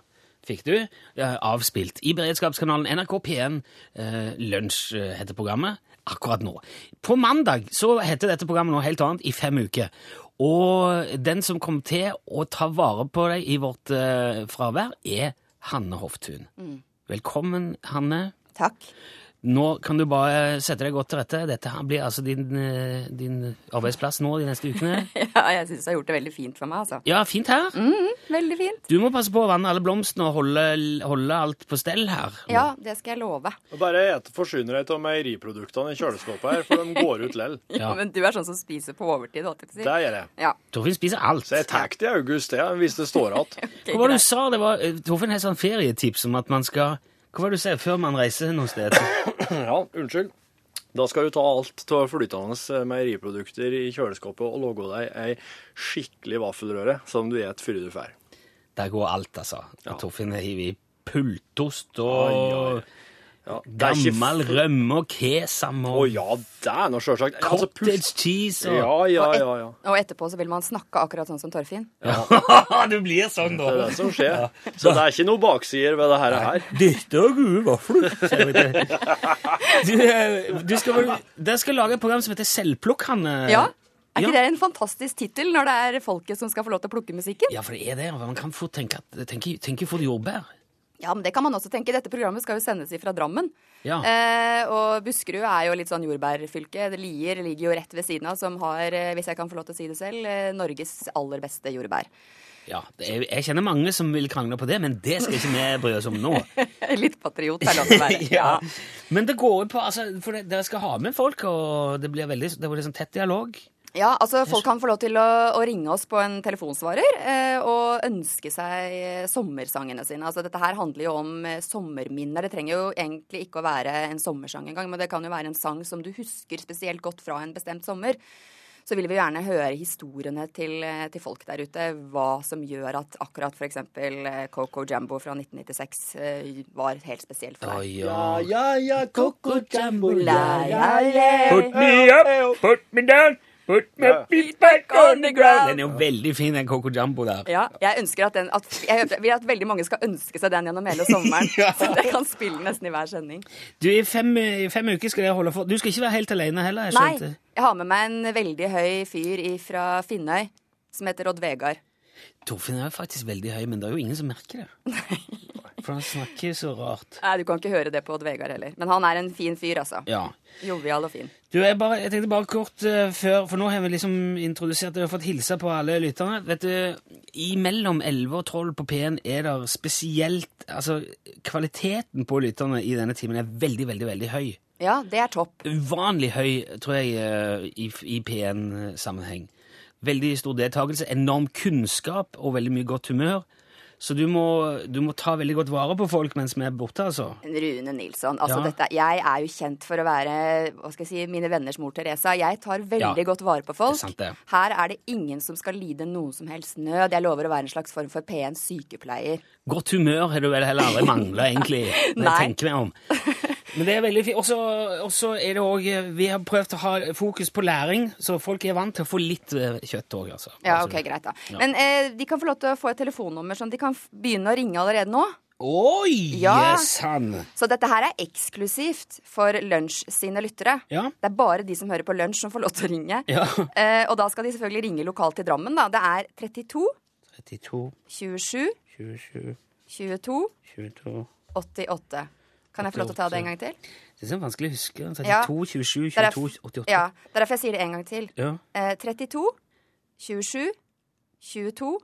S1: fikk du eh, avspilt i beredskapskanalen NRK P1 eh, Lunsj eh, heter programmet akkurat nå. På mandag så heter dette programmet noe helt annet i fem uker. Og den som kom til å ta vare på deg i vårt eh, fravær er Hanne Hoftun. Velkommen, Hanne.
S8: Takk.
S1: Nå kan du bare sette deg godt til rette. Dette her blir altså din, eh, din arbeidsplass nå de neste ukene.
S8: Ja, jeg syns du har gjort det veldig fint for meg, altså.
S1: Ja, fint her.
S8: Veldig fint.
S1: Du må passe på å vanne alle blomstene og holde, holde alt på stell her.
S8: Ja, det skal jeg love.
S7: Og Bare et, forsyne deg av meieriproduktene i kjøleskapet her, for de går ut lell.
S8: Ja, Men du er sånn som spiser på overtid, holdt jeg
S7: Det
S8: på å si.
S7: gjør jeg.
S8: Ja,
S1: Torfinn spiser alt.
S7: Så jeg tar det i august, det, hvis det står igjen.
S1: Hva var det du sa? Det var, eh, Torfinn har sånn ferietips om at man skal Hva var det du sier før man reiser noe sted?
S7: Ja, unnskyld. Da skal du ta alt av flytende eh, meieriprodukter i kjøleskapet og lage deg ei skikkelig vaffelrøre som du et før du drar.
S1: Der går alt, altså.
S7: Ja.
S1: Torfinn har hivet i pultost
S7: Oi,
S1: og
S7: oi. Ja, det er ikke
S1: gammel
S7: f-
S1: rømme og kesam
S7: Å
S1: og
S7: ja, det er nå sjølsagt. Altså,
S1: cottage altså. cheese og
S7: Ja, ja,
S8: Og et-
S7: ja. ja.
S8: Og etterpå så vil man snakke akkurat sånn som Torfinn.
S1: Du blir sånn,
S7: Det er
S1: da!
S7: det som skjer. Så det er ikke noe baksider ved det her. her.
S1: Dette er gode vafler. sier vi til. Du, eh, du skal vel Dere skal lage et program som heter Selvplukk, Hanne.
S8: Ja, Er
S1: Ja.
S8: ikke det en fantastisk tittel når det er folket som skal få lov til å plukke musikken?
S1: Ja, for det er det. Man kan fort tenke, at, tenke, tenke fort jordbær.
S8: Ja, men det kan man også tenke. Dette programmet skal jo sendes ifra Drammen.
S1: Ja.
S8: Eh, og Buskerud er jo litt sånn jordbærfylke. Det Lier ligger jo rett ved siden av, som har, eh, hvis jeg kan få lov til å si det selv, eh, Norges aller beste jordbær.
S1: Ja, det er, jeg kjenner mange som vil krangle på det, men det skal ikke vi bry oss om nå.
S8: Litt patriot er lov til å være.
S1: Ja. Men det går jo på altså, for det, Dere skal ha med folk, og det blir veldig det blir liksom tett dialog.
S8: Ja, altså folk kan få lov til å, å ringe oss på en telefonsvarer eh, og ønske seg eh, sommersangene sine. Altså dette her handler jo om eh, sommerminner. Det trenger jo egentlig ikke å være en sommersang engang, men det kan jo være en sang som du husker spesielt godt fra en bestemt sommer. så vil vi gjerne høre historiene til, eh, til folk der ute. Hva som gjør at akkurat f.eks. Coco Jambo fra 1996 eh, var helt spesiell for deg.
S1: ja.
S4: ja, ja,
S1: Coco Jumbo,
S8: La, la, la.
S1: me up, put me down, put my feet back
S8: on the ground.
S1: Den er jo veldig fin, den Coco Jumbo der.
S8: Ja, jeg ønsker at den at, Jeg vil at veldig mange skal ønske seg den gjennom hele sommeren. Så dere kan spille den nesten i hver sending.
S1: Du, i fem, i fem uker skal jeg holde for. Du skal ikke være helt alene heller, jeg
S8: Nei,
S1: skjønte.
S8: jeg har med meg en veldig høy fyr fra Finnøy som heter Odd Vegard.
S1: Torfinn er jo faktisk veldig høy, men det er jo ingen som merker det. For han snakker jo så rart.
S8: Nei, du kan ikke høre det på Odd Vegard heller. Men han er en fin fyr, altså.
S1: Ja.
S8: Jovial og fin.
S1: Du, jeg, bare, jeg tenkte bare kort eh, før, for nå har vi liksom introdusert det og fått hilse på alle lytterne. Vet du, imellom 11 og 12 på P1 er der spesielt Altså, kvaliteten på lytterne i denne timen er veldig, veldig, veldig høy.
S8: Ja, det er topp.
S1: uvanlig høy, tror jeg, eh, i, i P1-sammenheng. Veldig stor deltakelse, enorm kunnskap og veldig mye godt humør. Så du må, du må ta veldig godt vare på folk mens vi er borte, altså.
S8: Rune Nilsson. Altså,
S1: Ja.
S8: dette, jeg er jo kjent for å være hva skal jeg si, mine venners mor Teresa. Jeg tar veldig
S1: Ja.
S8: godt vare på folk.
S1: Det er sant, det.
S8: Her er det ingen som skal lide noen som helst nød. Jeg lover å være en slags form for P1 sykepleier.
S1: Godt humør har du vel heller aldri mangla, egentlig. Når jeg
S8: Nei.
S1: tenker meg om. Men det er veldig fint. Også- Også er det òg Vi har prøvd å ha fokus på læring, så folk er vant til å få litt eh, kjøtt òg, altså.
S8: Ja,
S1: Altså,
S8: ok, greit da.
S1: Ja.
S8: Men eh, de kan få lov til å få et telefonnummer som de kan f- begynne å ringe allerede nå.
S1: Oi!
S8: Ja.
S1: Sann!
S8: Så dette her er eksklusivt for Lunsj sine lyttere.
S1: Ja.
S8: Det er bare de som hører på Lunsj som får lov til å ringe.
S1: Ja.
S8: Eh, og da skal de selvfølgelig ringe lokalt til Drammen, da. Det er 32
S1: 32,
S8: 27
S1: 27,
S8: 22
S1: 22
S8: 88. Kan jeg få lov til å ta det en gang til?
S1: Det er så vanskelig å huske. altså.
S8: Ja.
S1: 32, 27,
S8: Det er
S1: 22, 88.
S8: ja, det er derfor jeg sier det en gang til.
S1: Ja.
S8: Eh, 32 27 22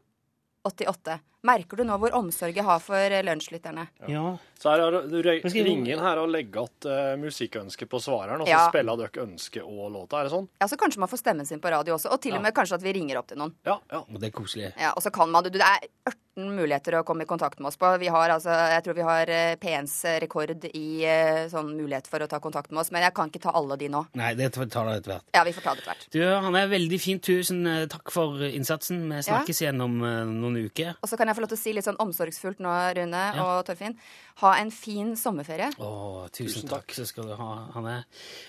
S8: 88. Merker du nå hvor omsorg jeg har for eh, lunsjlytterne?
S1: ja.
S2: Så her har du røy-
S1: skal jeg-
S2: ringer inn her og legger att eh, musikkønske på svareren, og så
S8: Ja.
S2: spiller dere ønske og låta. Er det sånn?
S8: Ja, så kanskje man får stemmen sin på radio også, og til og med kanskje at vi ringer opp til noen.
S2: Ja. ja.
S1: Og det er koselig.
S8: Ja, og så kan man, du, Det er 18 muligheter å komme i kontakt med oss på. Vi har, altså, jeg tror vi har eh, P1s rekord i eh, sånn mulighet for å ta kontakt med oss, men jeg kan ikke ta alle de nå.
S1: Nei, det tar tar det etter hvert.
S8: Ja, vi får ta det etter hvert.
S1: Du, han er veldig fint. Tusen eh, takk for innsatsen. Vi snakkes igjen om eh, noen uker.
S8: Og så kan jeg få lov til å si litt sånn omsorgsfullt nå, Rune
S1: Ja.
S8: og Torfinn. Ha en fin sommerferie.
S1: Å, tusen, takk. så skal du ha, Hanne.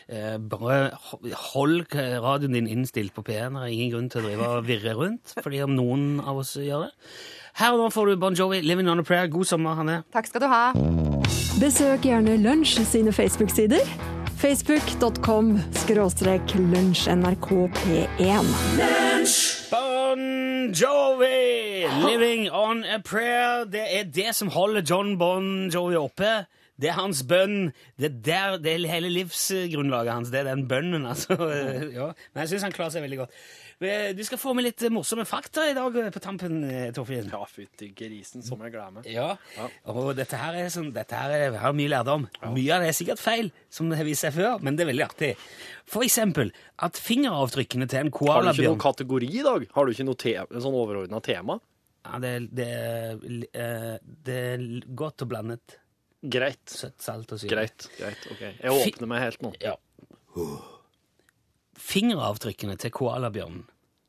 S1: Eh, bare ho- hold eh, radioen din innstilt på P1. Det er ingen grunn til å drive og virre rundt, fordi om noen av oss gjør det. Her og nå får du Bon Jovi, 'Living on a Prayer'. God sommer, Hanne.
S8: Takk skal du ha.
S9: Besøk gjerne Lunsj sine Facebook-sider. Facebook.com skråstrek lunsjnrkp1.
S1: Bon Jovi! 'Living on a Prayer'. Det er det som holder John Bon Jovi oppe. Det er hans bønn. Det er, der, det er hele livsgrunnlaget hans. Det er den bønnen, altså. Ja. Men jeg syns han klarer seg veldig godt. Men Du skal få med litt eh, morsomme fakta i dag eh, på tampen, eh, Torfinn.
S2: Ja, fytti grisen, som jeg gleder meg.
S1: Ja. Og dette her er sånn, dette her er, har mye lærdom. Mye av det er sikkert feil, som det har vist seg før, men det er veldig artig. For eksempel at fingeravtrykkene til en
S2: Har du ikke
S1: koalabjørn
S2: noen kategori i dag? Har du ikke noe te sånn overordna tema?
S1: Ja, det, er- det, er li- eh, det er l- godt og blandet.
S2: Greit.
S1: Søtt, salt og syre.
S2: Greit. Greit. OK. Jeg
S1: Fi-
S2: åpner meg helt nå.
S1: Ja. Fingeravtrykkene til koalabjørnen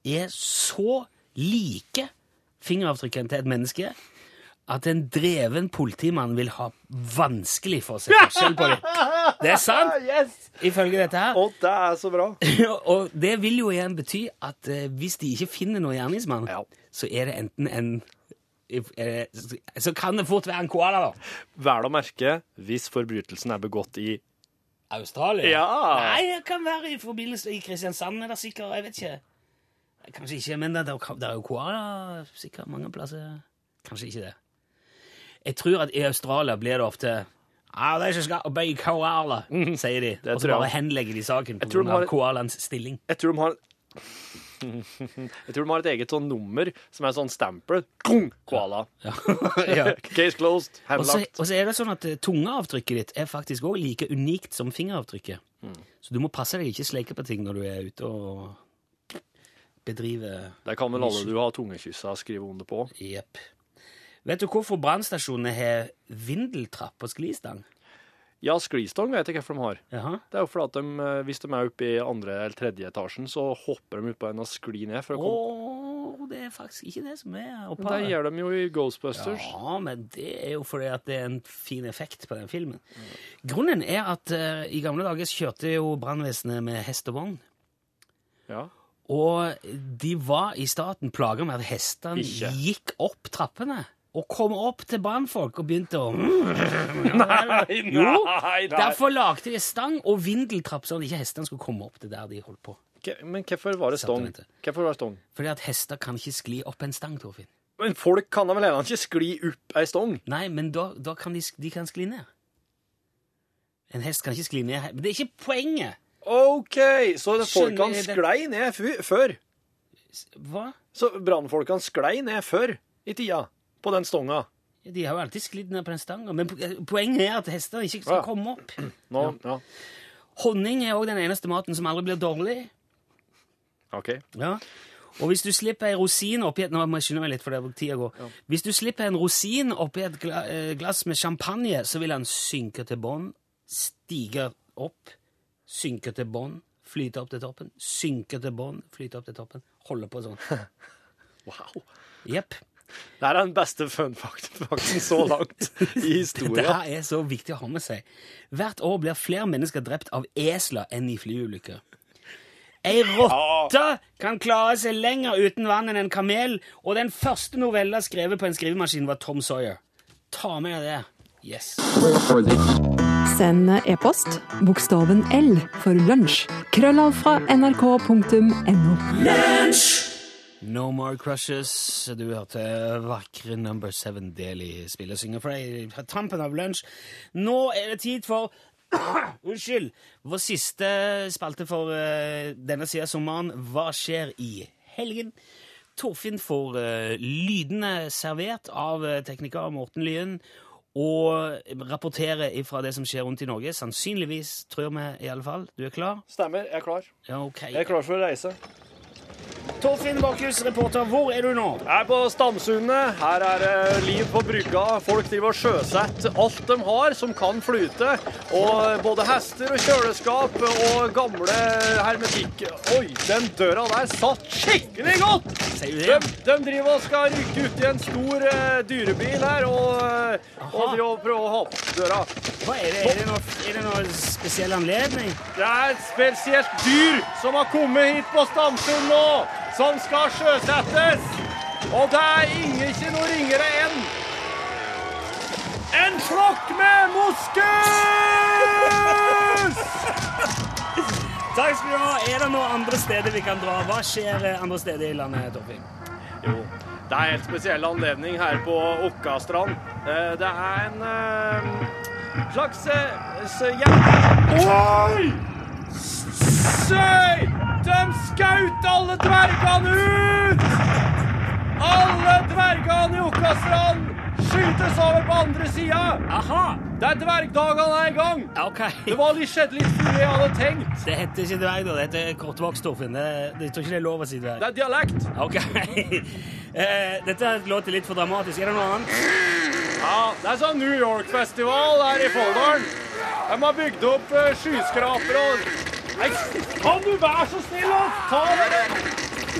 S1: er så like fingeravtrykkene til et menneske at en dreven politimann vil ha vanskelig for å se forskjell på dem. Det er sant,
S2: Yes!
S1: ifølge dette her.
S2: Å, det er så bra.
S1: Og det vil jo igjen bety at eh, hvis de ikke finner noen gjerningsmann,
S2: Ja.
S1: så er det enten en eh, Så kan det fort være en koala, da.
S2: Vel å merke hvis forbrytelsen er begått i
S1: Australia?
S2: Ja.
S1: Nei, det kan være i forbindelse i Kristiansand, er det sikkert, jeg vet ikke. Nei, Kanskje ikke, men det, det er jo- det er jo koala sikkert mange plasser. Kanskje ikke det. Jeg tror at i Australia blir det ofte "Ah, Ja, de som skal arbeide koala, sier de. Og så
S2: Mhm. tror jeg
S1: bare
S2: også.
S1: henlegger de saken
S2: Jeg tror de
S1: pga.
S2: har-
S1: koalaens stilling.
S2: Jeg tror de har Jeg tror de har et eget sånn nummer som er sånn stempel. Kung! Koala.
S1: Ja.
S2: Case closed.
S1: Og så
S2: Henlagt.
S1: og så er det sånn at eh, tungeavtrykket ditt er faktisk òg like unikt som fingeravtrykket.
S2: Mm.
S1: Så du må passe deg ikke sleike på ting når du er ute og bedriver
S2: Der kan vel alle du har tungekyssa, skrive under på.
S1: Jepp. Vet du hvorfor brannstasjonene har vindeltrapp og sklistang?
S7: Ja, sklistang vet jeg hvorfor de har.
S1: Jaha.
S7: Det er jo fordi at de, eh, hvis de er oppe i andre eller tredje etasjen, så hopper de utpå en og sklir ned. for å komme.
S1: Åh, det er faktisk ikke det som er
S7: Det
S1: opphavet.
S7: gjør de jo i Ghostbusters.
S1: Ja, men det er jo fordi at det er en fin effekt på den filmen. Grunnen er at eh, i gamle dager så kjørte jo brannvesenet med hest og vogn.
S7: Ja.
S1: Og de var i staten plaga med at hestene
S7: Ikke.
S1: gikk opp trappene. Og kom opp til brannfolk og begynte å
S7: Nei,
S1: Jo,
S7: nei, nei.
S1: Derfor lagde de stang og vindeltrapp, sånn at ikke hestene skulle komme opp til der de holdt på.
S7: Ke- Men hvorfor var det
S1: Satt og
S7: stong?
S1: ventet.
S7: Hvorfor var det stong?
S1: Fordi at hester kan ikke skli opp en stang, Torfinn.
S7: Men folk kan da vel heller ikke skli opp ei stong?
S1: Nei, men da, da kan de, sk- de kan skli ned. En hest kan ikke skli ned. her. Men det er ikke poenget!
S7: OK, så det-
S1: Skjønner
S7: folkene
S1: jeg det.
S7: sklei ned fu- før.
S1: Hva?
S7: Så brannfolkene sklei ned før i tida, på den stonga.
S1: De har jo alltid sklidd ned på den stanga, men po- poenget er at hester ikke skal
S7: Ja.
S1: komme opp.
S7: Nå, ja.
S1: Honning er òg den eneste maten som aldri blir dårlig.
S7: OK.
S1: Ja. Og hvis du slipper ei rosin oppi et Nå må jeg skynde meg litt, for det er tida går. Hvis du slipper en rosin oppi et gla, eh, glass med champagne, så vil den synke til bånn, stige opp, synke til bånn, flyte opp til toppen, synke til bånn, flyte opp til toppen. Holde på sånn.
S7: Wow.
S1: Jepp.
S7: Det er den beste fun facten så langt i
S1: Dette
S7: historien.
S1: her er så viktig å ha med seg. Hvert år blir flere mennesker drept av esler enn i flyulykker. Ei rotte kan klare seg lenger uten vann enn en kamel, og den første novella skrevet på en skrivemaskin var Tom Sawyer. Ta med det. Yes.
S9: Send e-post bokstaven L for lunsj. Krøllalf fra nrk.no.
S1: No More Crushes. Du hørte vakre Number Seven Daily spille og synge for deg på tampen av lunsj. Nå er det tid for Unnskyld! Vår siste spalte for eh, denne sida av sommeren. Hva skjer i helgen? Torfinn får eh, lydene servert av eh, tekniker Morten Lyen. Og rapporterer ifra det som skjer rundt i Norge. Sannsynligvis, tror vi i alle fall. Du er klar?
S7: Stemmer, jeg er klar.
S1: Ja, ok.
S7: Jeg er klar for å reise.
S1: Torfinn Bakhus, reporter, hvor er du nå?
S7: Jeg er på Stamsundet. Her er det liv på brygga. Folk driver og sjøsetter alt de har som kan flyte. Og både hester og kjøleskap og gamle hermetikk... Oi, den døra der satt skikkelig godt!
S1: Sier du
S7: De,
S1: det?
S7: de driver og skal rykke ut i en stor eh, dyrebil her og, eh, og
S1: Aha.
S7: driver og prøver å ha opp døra.
S1: Hva er det? Er det noe, er det noe spesiell anledning?
S7: Det er et spesielt dyr som har kommet hit på Stamsund nå, som skal sjøsettes. Og det er ingen ikke noe ringere enn en flokk med moskus!
S1: Takk skal du ha. Er det noen andre steder vi kan dra? Hva skjer eh, andre steder i landet, Torfinn?
S7: Jo, det er en helt spesiell anledning her på Okkastrand. Eh, Det er en eh, slags eh, s- jæv- Oi! Søy! De skaut alle dvergene ut! Alle dvergene i Okkastrand skytes over på andre sida!
S1: Aha!
S7: Det er dvergdagene er i gang!
S1: Ja, OK.
S7: Det var litt skjedd litt før jeg hadde tenkt.
S1: Det heter ikke dverg, da. Det heter kortvokst, Torfinn. Det, det, jeg tror ikke det er lov å si dverg.
S7: Det er dialekt.
S1: OK. Eh, Dette låter litt for dramatisk. Er det noe annet?
S7: Ja, det er sånn New York-festival her i Folldalen. De har bygd opp eh, skyskraper og Nei, kan du være så snill å ta det?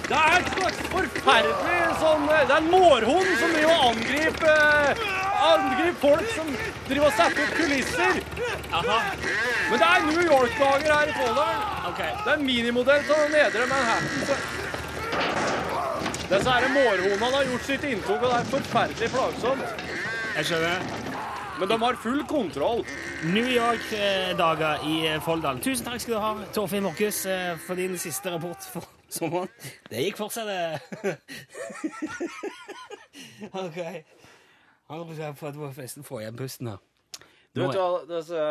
S7: Det er et slags forferdelig sånn eh, Det er en mårhund som driver og angriper eh, angriper folk som driver og setter opp kulisser.
S1: Aha.
S7: Men det er New York-dager her i Folldalen.
S1: OK.
S7: Det er en minimodell av den nedre Manhattan. Disse her mårhundene har gjort sitt inntog, og det er forferdelig plagsomt.
S1: Jeg skjønner.
S7: Men de har full kontroll.
S1: New York-dager i eh, Folldal. Tusen takk skal du ha, Torfinn Morkhus, eh, for din siste rapport for sommeren. Det gikk for seg, det. OK. Han har fått nesten få igjen pusten her.
S7: Du vet hva, det,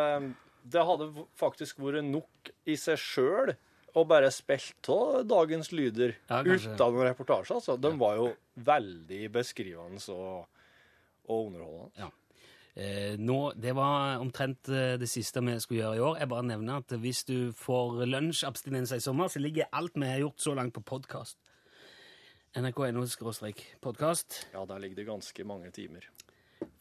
S7: det hadde faktisk vært nok i seg sjøl å bare spilt av dagens lyder
S1: Ja, kanskje.
S7: uten noen reportasje. Altså. De var jo veldig beskrivende og, og underholdende.
S1: Eh, nå, det var omtrent eh, det siste vi skulle gjøre i år. Jeg bare nevner at hvis du får lunsjabstinenser i sommer, så ligger alt vi har gjort så langt på podkast. NRK.no-podkast.
S7: Ja, der ligger det ganske mange timer.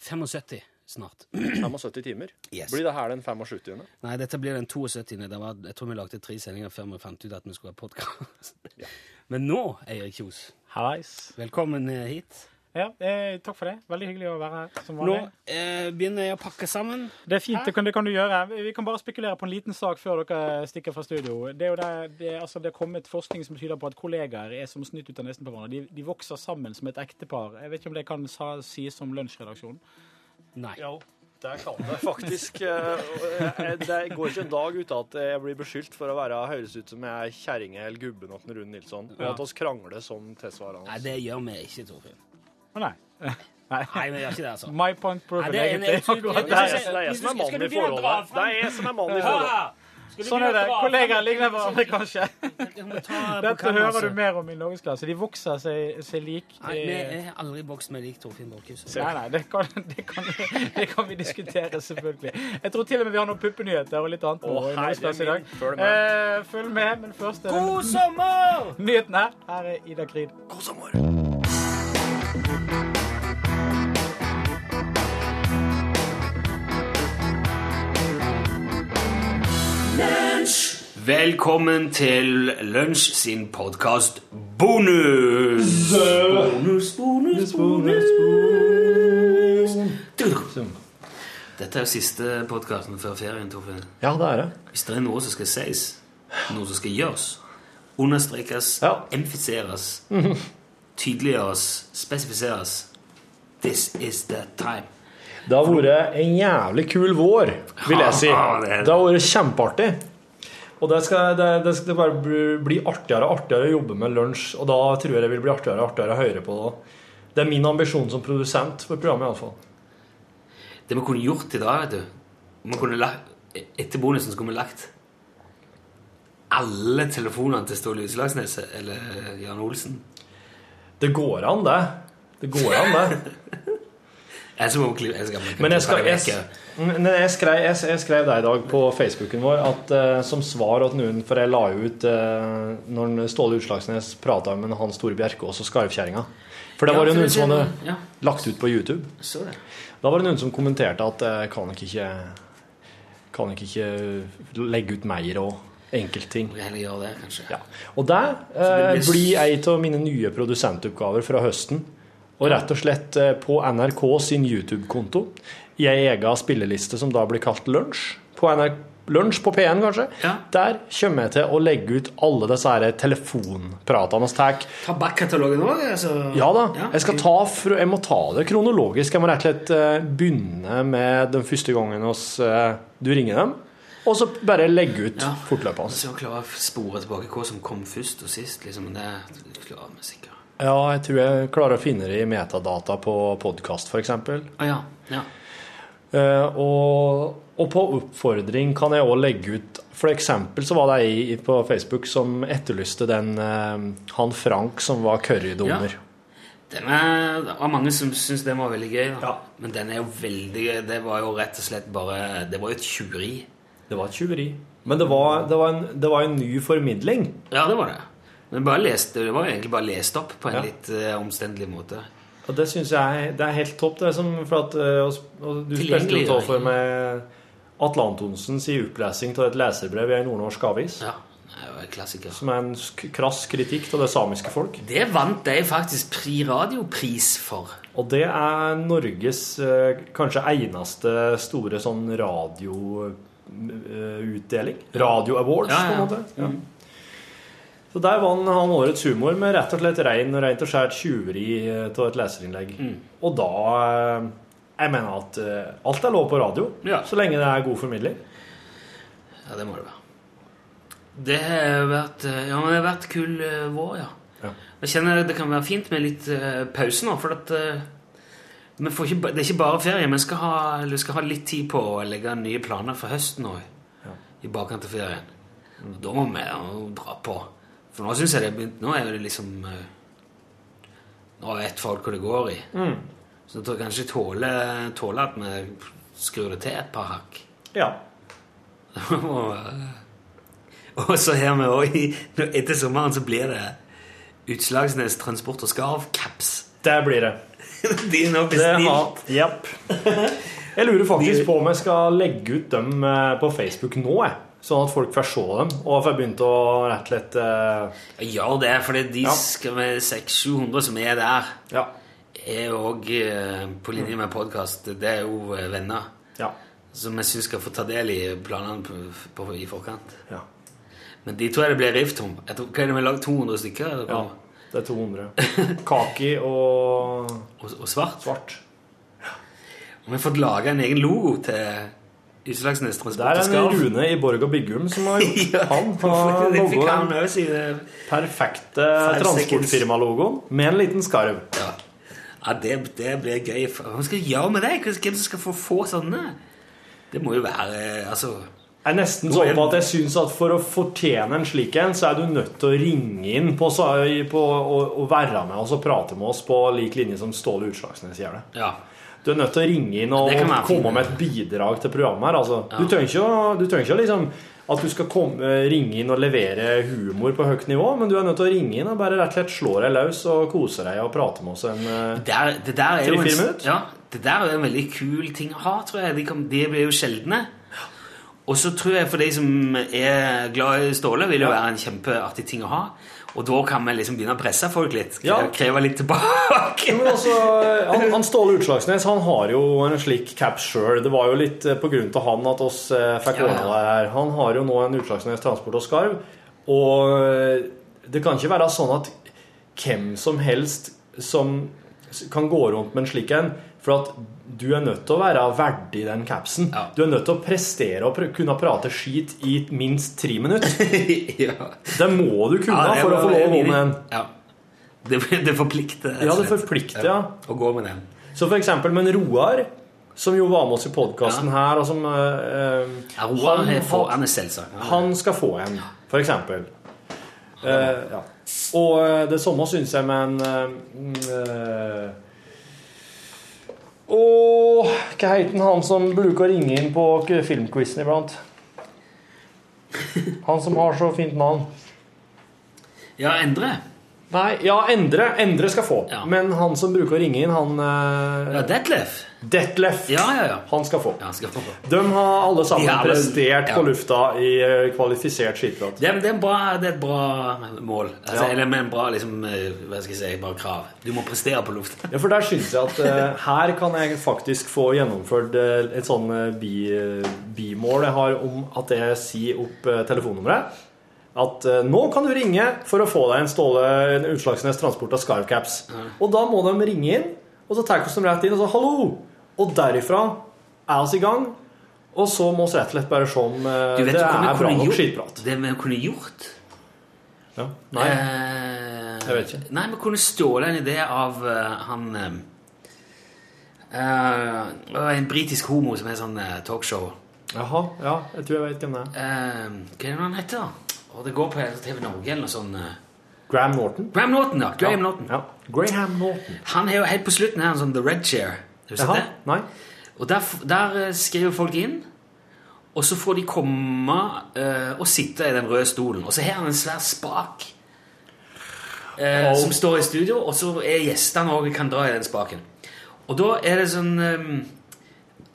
S1: 75 snart.
S7: 75 timer.
S1: Yes.
S7: Blir det her den 75.
S1: Nei, dette blir den 72. Det var, jeg tror vi lagde tre sendinger før vi fant ut at vi skulle ha podkast. Men nå, Eirik Kjos,
S10: Hallais.
S1: velkommen eh, hit.
S10: Ja, eh, takk for det. Veldig hyggelig å være her som
S1: Nå
S10: vanlig.
S1: eh, begynner jeg å pakke sammen.
S10: Det er fint, det kan, det kan du gjøre. Vi kan bare spekulere på en liten sak før dere stikker fra studio. Det er jo der, det, altså, det er kommet forskning som tyder på at kollegaer er som snytt ut av nesen på hverandre. De, de vokser sammen som et ektepar. Jeg vet ikke om det kan sa, sies som lunsjredaksjon.
S1: Nei.
S7: Jo, der kan det faktisk. eh, Det går ikke en dag uten at jeg blir beskyldt for å være høres ut som jeg er kjerringa eller gubben til Rune Nilsson. Og at oss krangler som tilsvarende.
S1: Nei, det gjør vi ikke, Torfinn.
S10: Å nei. nei.
S1: Nei, vi gjør ikke det, altså.
S10: My point proven,
S1: Nei, det er en-
S10: egentlig.
S1: jeg tror-
S10: Akkurat
S7: Det er jeg,
S10: der.
S7: det er jeg som er mannen i
S1: Skal du begynne å dra
S7: forholdet. Det er jeg som er mannen i forholdet.
S1: Ha! Skal du
S10: Sånn
S1: begynne
S10: er det.
S1: å dra
S10: Kollegaer
S1: frem-
S10: ligner hverandre, kanskje.
S1: Jeg må ta på
S10: Dette
S1: kamera, altså.
S10: hører du mer om i norgesklasse. De vokser seg, seg lik. eh,
S1: Nei, vi er aldri bokst med lik Torfinn Borchhus.
S10: Nei, nei, det kan, det, kan, det kan vi diskutere, selvfølgelig. Jeg tror til og med vi har noen puppenyheter og litt annet.
S7: Å,
S10: nå i
S7: herre
S10: norgesklasse i
S7: min.
S10: dag.
S7: Følg med.
S10: Eh, følg med, men først er det
S1: God sommer!
S10: nyhetene. Her er Ida Krid.
S7: God sommer.
S1: Velkommen til Lunsj sin podkast Bonus! Bonus, bonus, bonus, bonus. Dette er jo siste podkasten før ferien, Torfinn.
S7: Ja, det er det.
S1: Hvis det er noe som skal sies, noe som skal gjøres, understrekes,
S7: Ja.
S1: emfiseres, tydeliggjøres, spesifiseres This is the time.
S7: Det har vært en jævlig kul vår, vil jeg si.
S1: Ja, det er det.
S7: Det har vært kjempeartig. Og det skal, det, det skal bare bli- bli artigere og artigere å jobbe med lunsj. Og da tror jeg det vil bli artigere og artigere å høre på. Det. det er min ambisjon som produsent for programmet, iallfall.
S1: Det vi kunne gjort i dag, vet du vi kunne lagt, Etter bonusen skulle vi lagt alle telefonene til Ståle Utslagsnes eller Jan Olsen.
S7: Det går an, det. Det går an, det.
S1: Jeg skal, jeg skal,
S7: Men jeg, skal,
S1: jeg,
S7: jeg, men jeg, skrev, jeg, jeg skrev det i dag på Facebooken vår at eh, som svar at noen For jeg la ut eh, når Ståle Utslagsnes prata med Hans Tore Bjerkås og Skarvkjerringa. For det var jo noen som hadde
S1: Ja,
S7: lagt ut på YouTube.
S1: så det.
S7: Da var det noen som kommenterte at eh, kan dere ikke Kan dere ikke eh, legge ut mer og enkeltting?
S1: Vi kan heller gjøre det, kanskje.
S7: Ja. Og det eh,
S1: det blir-
S7: blir ei av mine nye produsentoppgaver fra høsten. Og rett og slett eh, på NRK sin YouTube-konto. I ei ega spilleliste som da blir kalt Lunsj. På NRK Lunsj på P1, kanskje.
S1: Ja.
S7: Der kommer jeg til å legge ut alle disse her telefonpratene vi tar.
S1: Ta bakkatalogen òg, altså.
S7: Ja da.
S1: Ja.
S7: Jeg, skal ta, fra- jeg må ta det kronologisk. Jeg må rett og slett eh, begynne med den første gangen oss, eh, du ringer dem, og så bare legge ut
S1: Ja.
S7: fortløpende.
S1: Så å klare å spore tilbake hva som kom først og sist, liksom, det klarer vi sikkert.
S7: Ja, jeg tror jeg klarer å finne det i metadata på podkast, f.eks.
S1: Å ja. ja.
S7: Eh, og, og på oppfordring kan jeg òg legge ut For eksempel så var det ei i- på Facebook som etterlyste den eh, han Frank som var currydommer.
S1: Den er, det var mange som syntes den var veldig gøy. Da.
S7: Ja.
S1: Men den er jo veldig gøy. Det var jo rett og slett bare Det var jo et tjuveri.
S7: Det var et tjuveri. Men det var, det, var en, det var en ny formidling.
S1: Ja, det var det. Men bare lest, det var jo egentlig bare lest opp på en
S7: Ja.
S1: litt eh, omstendelig måte.
S7: Og det syns jeg det er helt topp. Det er som for at eh, og, og Du spilte
S1: Tilgjengelig,
S7: jo av
S1: ja.
S7: for meg Atle Antonsens i opplesing av et leserbrev i en nordnorsk avis,
S1: Ja, det er jo en klassiker.
S7: som er en sk- krass kritikk av det samiske folk.
S1: Det vant de faktisk Pri Radio-pris for.
S7: Og det er Norges eh, kanskje eneste store sånn radioutdeling. Radio awards,
S1: Ja, Mm. ja, ja.
S7: på en måte. Ja. Så der vant han årets humor med rett og slett rein og rent og skjært tjuveri eh, av et leserinnlegg.
S1: Mm.
S7: Og da eh, Jeg mener at eh, alt er lov på radio,
S1: Ja.
S7: så lenge det er god formidling.
S1: Ja, det må det være. Det har vært, eh, ja, men det har vært kul eh, vår, ja.
S7: Ja.
S1: Jeg kjenner det kan være fint med litt eh, pause nå, for at eh, vi får ikke, ba- det er ikke bare ferie. Vi skal ha, vi skal ha litt tid på å legge nye planer for høsten òg, i bakkant av ferien. Og da må vi jo dra på. For nå syns jeg det har begynt Nå er det liksom eh, Nå vet folk hva det går i. Så jeg tror jeg kanskje tåle, tåle at vi skrur det til et par hakk.
S7: Ja.
S1: Og, og så her med også i- Etter sommeren så blir det Utslagsnes Transport og Skarv caps.
S7: Det blir det.
S1: De er nå
S7: Det
S1: bestilt.
S7: har, Japp. Jeg lurer faktisk på om jeg skal legge ut dem eh, på Facebook nå, jeg. Sånn at folk får se dem, og får begynt å rett og slett eh,
S1: Gjør det, for de
S7: Ja.
S1: skal med 600-700 som er der,
S7: Ja.
S1: er òg på
S7: Mm.
S1: linje med podkast. Det er jo eh, venner
S7: Ja.
S1: som jeg syns skal få ta del i planene på, på, i forkant.
S7: Ja.
S1: Men de tror jeg det blir rift om. Jeg tror, hva er det vi har lagd? 200 stykker? eller
S7: ja.
S1: hva?
S7: Det er 200. Kaki og
S1: Og, og svart?
S7: svart.
S1: Og vi har fått laga en egen logo til Utslagsnes
S7: Det
S1: Transport
S7: er
S1: og
S7: en
S1: Skarv.
S7: Rune i Borg og Byggum som har gjort
S1: Ja.
S7: Han har
S1: Det fikk
S7: logoen.
S1: han også si det.
S7: Perfekte
S1: Five
S7: transportfirmalogoen med en liten skarv.
S1: Ja, ja det, det blir gøy. Hva skal vi gjøre med det? Hvem som skal få få sånne? Det må jo være Altså
S7: Jeg er nesten sånn på at jeg syns at for å fortjene en slik en, så er du nødt til å ringe inn på, sa- på og, og være med oss og prate med oss på lik linje som Ståle Utslagsnes gjør det.
S1: Ja.
S7: Du er nødt til å ringe inn og,
S1: Det kan
S7: og
S1: være fint.
S7: komme med et bidrag til programmet her. Altså, Du trenger ikke, å- du trenger ikke å liksom at du skal komme, ringe inn og levere humor på høyt nivå, men du er nødt til å ringe inn og bare rett og slett slå deg løs og kose deg og prate med oss en eh,
S1: Der, det der er jo
S7: Tre-fire
S1: en,
S7: minutter?
S1: ja, det der er jo en veldig kul ting å ha, tror jeg. De, kan, de blir jo sjeldne. Og så tror jeg for de som er glad i Ståle, vil det jo være en kjempeartig ting å ha. Og da kan vi liksom begynne å presse folk litt.
S7: Ja.
S1: Kreve, kreve litt tilbake.
S7: Men altså, han, han Ståle Utslagsnes han har jo en slik caps sjøl. Det var jo litt eh, på grunn til han at oss eh, fikk
S1: Ja, ja.
S7: ordna det her. Han har jo nå en Utslagsnes Transport og Skarv. Og eh, det kan ikke være sånn at hvem som helst som s- kan gå rundt med en slik en. For at du er nødt til å være verdig den capsen.
S1: Ja.
S7: Du er nødt til å prestere og pr kunne prate skit i minst tre minutter.
S1: ja.
S7: Det må du kunne
S1: Ja, det
S7: for å
S1: var-
S7: få lov å gå med en.
S1: Ja. Det, det forplikter. rett
S7: Ja,
S1: og
S7: det
S1: slett.
S7: forplikter, ja.
S1: Å gå med den.
S7: Så for eksempel med en Roar, som jo var med oss i podkasten her, og som eh, eh,
S1: Ja, Roar
S7: han-
S1: er foran i selvsagt.
S7: Han skal få en, for eksempel. Eh, ja. Og eh, det samme syns jeg med en eh, mm, eh, Åh, hva heter han, han som bruker å ringe inn på k- filmquizen iblant? Han som har så fint navn.
S1: Ja, Endre.
S7: Nei, ja, Endre. Endre skal få.
S1: Ja.
S7: Men han som bruker å ringe inn, han eh,
S1: Ja, Detlef.
S7: Detlef,
S1: Ja, ja, ja.
S7: han skal få.
S1: Ja, han skal få.
S7: De har alle sammen
S1: Ja, men-
S7: prestert
S1: ja.
S7: på lufta i eh, kvalifisert skitprat.
S1: Det er, det, er en bra, det er et bra mål. Altså,
S7: Ja.
S1: Eller med en bra liksom, eh, hva skal jeg si, bare krav. Du må prestere på lufta.
S7: Ja, for der syns jeg at eh, her kan jeg faktisk få gjennomført eh, et sånn eh, bi, eh, bimål jeg har om at jeg sier opp eh, telefonnummeret. At eh, nå kan du ringe for å få deg en Ståle en Utslagsnes Transport av Scarfcaps. Og da må de ringe inn, og så tar vi oss dem rett inn og så 'hallo'. Og derifra er oss i gang. Og så må vi rett og slett bare se om eh,
S1: Du vet
S7: det
S1: hva vi
S7: er bra
S1: kunne
S7: nok
S1: gjort?
S7: skitprat.
S1: Det vi kunne gjort
S7: Ja. Nei.
S1: eh,
S7: Jeg vet ikke.
S1: Nei, vi kunne stjåle en idé av eh, han eh, eh, En britisk homo som er sånn eh, talkshow.
S7: Jaha, ja, jeg tror jeg vet hvem det er.
S1: Eh, hva er det han heter, da? Og det går på TV Norge eller noe sånt. eh.
S7: Graham Norton.
S1: Graham Norton, ja. Graham Norton.
S7: Ja. Graham Norton.
S1: Han er jo helt på slutten her, en sånn The Red Chair. Husker du
S7: Jaha,
S1: det?
S7: nei.
S1: Og der, f- der eh, skriver folk inn, og så får de komme eh, og sitte i den røde stolen. Og så har han en svær spak eh,
S7: Au.
S1: som står i studio, og så er gjestene òg kan dra i den spaken. Og da er det sånn eh,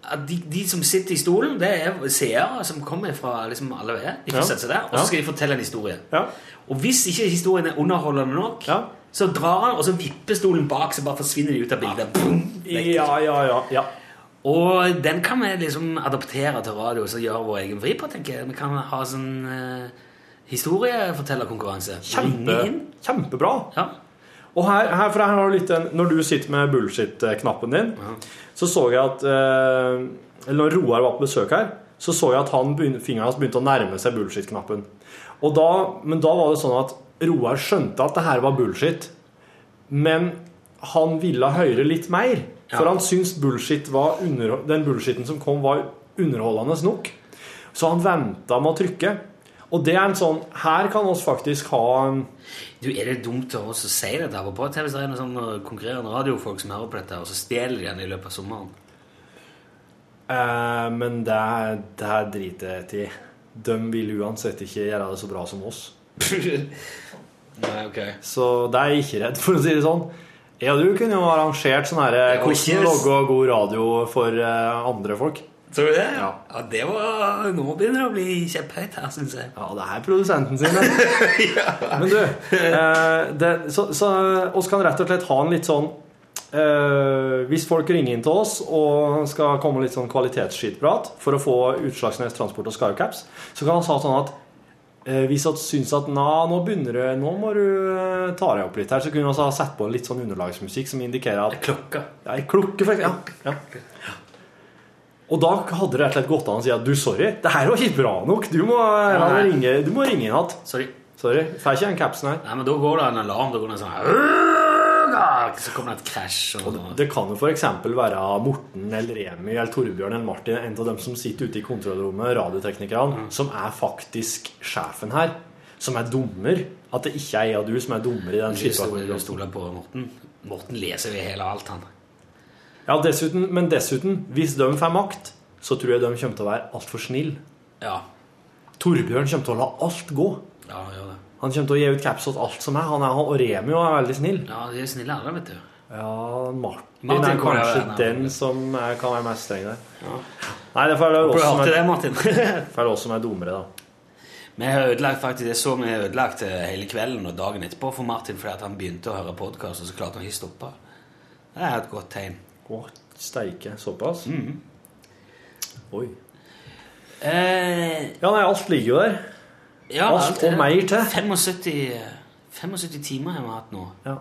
S1: at de, de som sitter i stolen, det er seere som kommer fra liksom alle veier. De får
S7: Ja.
S1: sette seg der, og
S7: Ja.
S1: så skal de fortelle en historie.
S7: Ja.
S1: Og hvis ikke historien er underholdende nok,
S7: Ja.
S1: så drar han, og så vipper stolen bak, så bare forsvinner de ut av bildet. Boom!
S7: Ja, ja, ja. ja.
S1: Og den kan vi liksom adoptere til radio og så gjøre vår egen vri på, tenker jeg. Vi kan ha sånn uh, historiefortellerkonkurranse.
S7: Kjempe,
S1: Ringe inn.
S7: kjempebra.
S1: Ja.
S7: Og her, her, for her har du litt en, Når du sitter med bullshit-knappen din, så så jeg at eh, Eller når Roar var på besøk her, så så jeg at han begyn- fingeren hans begynte å nærme seg bullshit-knappen. Og da, men da var det sånn at Roar skjønte at det her var bullshit, men han ville høre litt mer. For
S1: Ja.
S7: han syntes bullshit var under, den bullshiten som kom, var underholdende nok. Så han venta med å trykke. Og det er en sånn Her kan oss faktisk ha en
S1: Du, er det dumt av oss å si dette her på TV? Hvis det er noen sånne sånn, konkurrerende radiofolk som hører på dette, og så stjeler de den i løpet av sommeren?
S7: Eh, men det, er- det her driter jeg til. De vil uansett ikke gjøre det så bra som oss.
S1: Nei, ok.
S7: Så det er jeg ikke redd for, å si det sånn. Ja, du kunne jo arrangert sånn her
S1: Det var ikke-
S7: Hvordan logge god radio for eh, andre folk.
S1: Tror du det?
S7: Ja.
S1: Ja, det var Nå begynner det å bli kjepphøyt her, syns jeg.
S7: Ja, det er produsenten sin. ja. Men du, eh, det, så, så oss kan rett og slett ha en litt sånn eh, Hvis folk ringer inn til oss og skal komme litt sånn kvalitetsskitprat for å få Utslagsnes Transport og Skycaps, så kan vi ha sånn at eh, hvis vi syns at na, nå begynner det, nå må du eh, ta deg opp litt her, så kunne vi ha satt på litt sånn underlagsmusikk som indikerer at
S1: Klokka.
S7: Ja, ei klokke, for eksempel. Ja. Ja. Og da hadde det rett og slett gått an å si at du, sorry, det her var ikke bra nok. Du må,
S1: Nei.
S7: ringe, du må ringe inn igjen.
S1: Sorry.
S7: Sorry. Får ikke den capsen her.
S1: Nei, men da går det en alarm. Da går det en sånn Så kommer det et krasj. Og
S7: Det kan jo f.eks. være Morten eller Remi eller Torbjørn eller Martin, en av dem som sitter ute i kontrollrommet,
S1: Mm.
S7: radioteknikerne, som er faktisk sjefen her. Som er dommer. At det ikke er jeg og du som er dommer i den
S1: Ikke stole-
S7: situasjonen.
S1: stole på Morten. Morten leser jo hele alt, han.
S7: Ja, dessuten, men dessuten, hvis de får makt, så tror jeg de kommer til å være altfor snille.
S1: Ja.
S7: Torbjørn kommer til å la alt gå.
S1: Ja, han gjør det.
S7: Han kommer til å gi ut caps åt alt som er. Han er og Remi og er veldig snill.
S1: Ja, de er snille alle, vet du.
S7: Ja, Martin,
S1: Martin
S7: er
S1: går
S7: kanskje
S1: jo-
S7: den som er, kan være mest streng der. Nei, det får jeg
S1: Burde
S7: lov
S1: hørt
S7: som
S1: til det,
S7: er,
S1: Martin.
S7: får jeg lov som er dummere, da.
S1: Vi har ødelagt faktisk, Jeg så vi har ødelagt eh, hele kvelden og dagen etterpå for Martin fordi at han begynte å høre podkast, og så klarte han ikke å stoppe. Det er et godt tegn.
S7: Å, steike. Såpass? Oi.
S1: Eh,
S7: Ja, nei, alt ligger jo der.
S1: ja,
S7: Alt
S1: alt det-
S7: og mer til.
S1: 75, eh, 75 timer har vi hatt nå.
S7: Ja.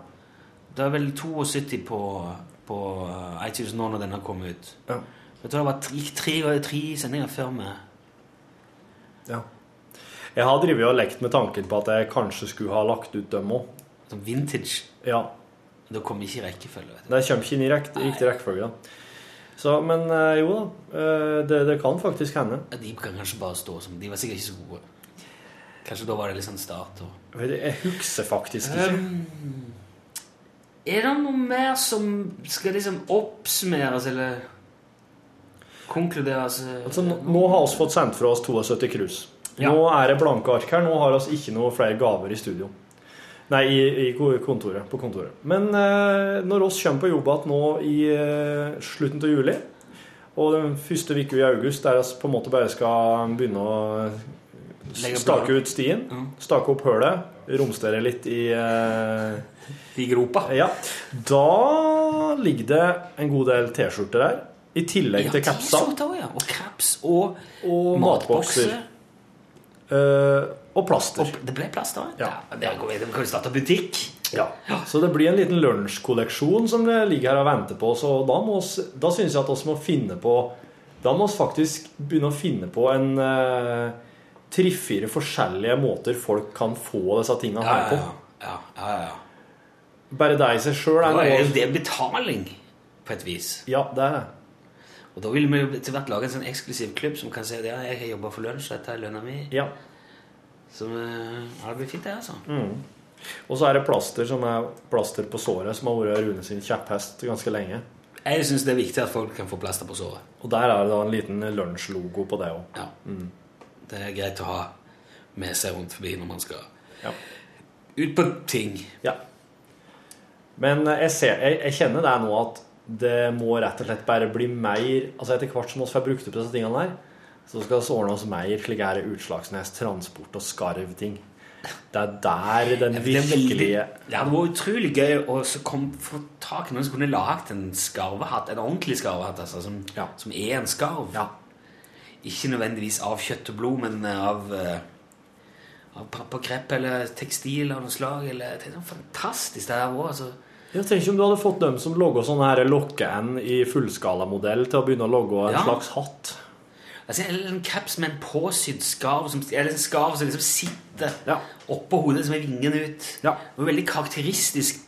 S1: Det er vel 72 på, på eh, iTunes nå når denne kom ut.
S7: Ja.
S1: Jeg tror det var tre, tre, tre sendinger før vi
S7: ja. Jeg har drevet og lekt med tanken på at jeg kanskje skulle ha lagt ut dem òg.
S1: Sånn vintage.
S7: Ja.
S1: Da kom vi ikke i rekkefølge. vet du.
S7: Det kommer ikke inn i rekt, riktig rekkefølge. da. Så, men eh, jo da. eh, Det, det kan faktisk hende.
S1: Ja, De kan kanskje bare stå som De var sikkert ikke så gode. Kanskje da var det litt sånn start. Og...
S7: Vet du, Jeg husker faktisk ikke.
S1: Ehm, Er det noe mer som skal liksom oppsummeres eller konkluderes? eh?
S7: Altså, nå, nå har vi fått sendt fra oss 72 krus.
S1: Ja.
S7: Nå er det blanke ark her. Nå har vi ikke noe flere gaver i studio. Nei, i, i ko- kontoret, på kontoret. Men eh, når oss kommer på jobb igjen nå i eh, slutten av juli, og den første uka i august der vi på en måte bare skal begynne å s-
S1: Legge Mm.
S7: stake
S1: planer.
S7: ut stien, stake opp hølet, romstere litt i eh,
S1: I gropa?
S7: ja. Da ligger det en god del T-skjorter her. I tillegg til capsa.
S1: T-skjorter, ja. Og caps og,
S7: Og
S1: matbokser.
S7: matbokser. Eh, og plaster.
S1: Og det ble plass da?
S7: Ja.
S1: Det går vi- vi kan jo starte butikk.
S7: Ja. Så det blir en liten lunsjkolleksjon som det ligger her og venter på. Så da, må oss, da synes jeg at oss må finne på Da må oss faktisk begynne å finne på en eh, tre-fire forskjellige måter folk kan få disse tinga
S1: Ja,
S7: her
S1: ja,
S7: på.
S1: ja. ja, ja, ja.
S7: Bare det i seg sjøl er
S1: Da er jo
S7: noe
S1: det betaling, på et vis.
S7: Ja, det er det.
S1: Og da vil vi jo til hvert lage en sånn eksklusiv klubb som kan si at ja, jeg har jobba for lunsj, dette er lønna mi.
S7: Ja.
S1: Så eh, ja, det blir fint, det, altså.
S7: Og så er det plaster som er plaster på såret, som har vært Rune sin kjepphest ganske lenge.
S1: Jeg syns det er viktig at folk kan få plaster på såret.
S7: Og der er det da en liten lunsjlogo på det òg.
S1: Ja. Det er greit å ha med seg rundt forbi når man skal
S7: Ja.
S1: ut på ting.
S7: Ja. Men eh, jeg, ser, jeg, jeg kjenner det nå at det må rett og slett bare bli mer Altså etter hvert som vi får brukt opp disse tingene her, så skal vi ordne oss mer slike her Utslagsnes transport og skarv-ting. Det er der den
S1: Ja, for det er veldig-
S7: virkelige
S1: Det hadde vært utrolig gøy å så kom- få tak i noen som kunne lagd en skarvehatt, en ordentlig skarvehatt, altså, som,
S7: Ja.
S1: som er en skarv.
S7: Ja.
S1: Ikke nødvendigvis av kjøtt og blod, men av, eh, av pappakrepp eller tekstil av noe slag. Eller, det er sånn fantastisk det her også, altså.
S7: Jeg tenker om du hadde fått dem som logger sånne her lokkeend i fullskalamodell, til å begynne å logge en
S1: Ja.
S7: slags hatt.
S1: Altså, eller en caps med en påsydd skarv som, Eller en skarv som liksom sitter
S7: Ja.
S1: oppå hodet, som er vingen ut.
S7: Ja.
S1: Det var veldig karakteristisk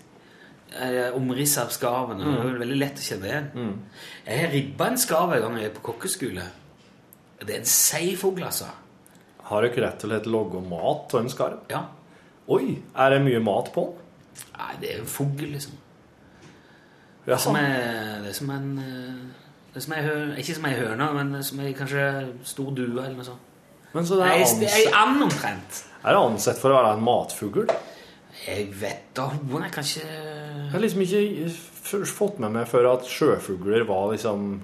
S1: eh, omriss av skarven. og Det
S7: Mm.
S1: var veldig lett å kjenne igjen. Jeg har ribba en skarv en gang jeg gikk på kokkeskole. Det er en seig fugl, altså.
S7: Har dere rett og slett logga mat av en skarv?
S1: Ja.
S7: Oi! Er det mye mat på den?
S1: Nei, det er jo en fugl, liksom.
S7: Ja.
S1: Som er, det er som en eh, det er som ei hø- Ikke som ei høne, men som ei kanskje stor due eller noe sånt.
S7: Men så det
S1: Nei,
S7: er,
S1: det er ei
S7: ansett,
S1: and omtrent.
S7: er det ansett for å være en matfugl?
S1: Jeg vet da hoen. Jeg kan ikke
S7: Jeg har liksom ikke f- fått med meg før at sjøfugler var liksom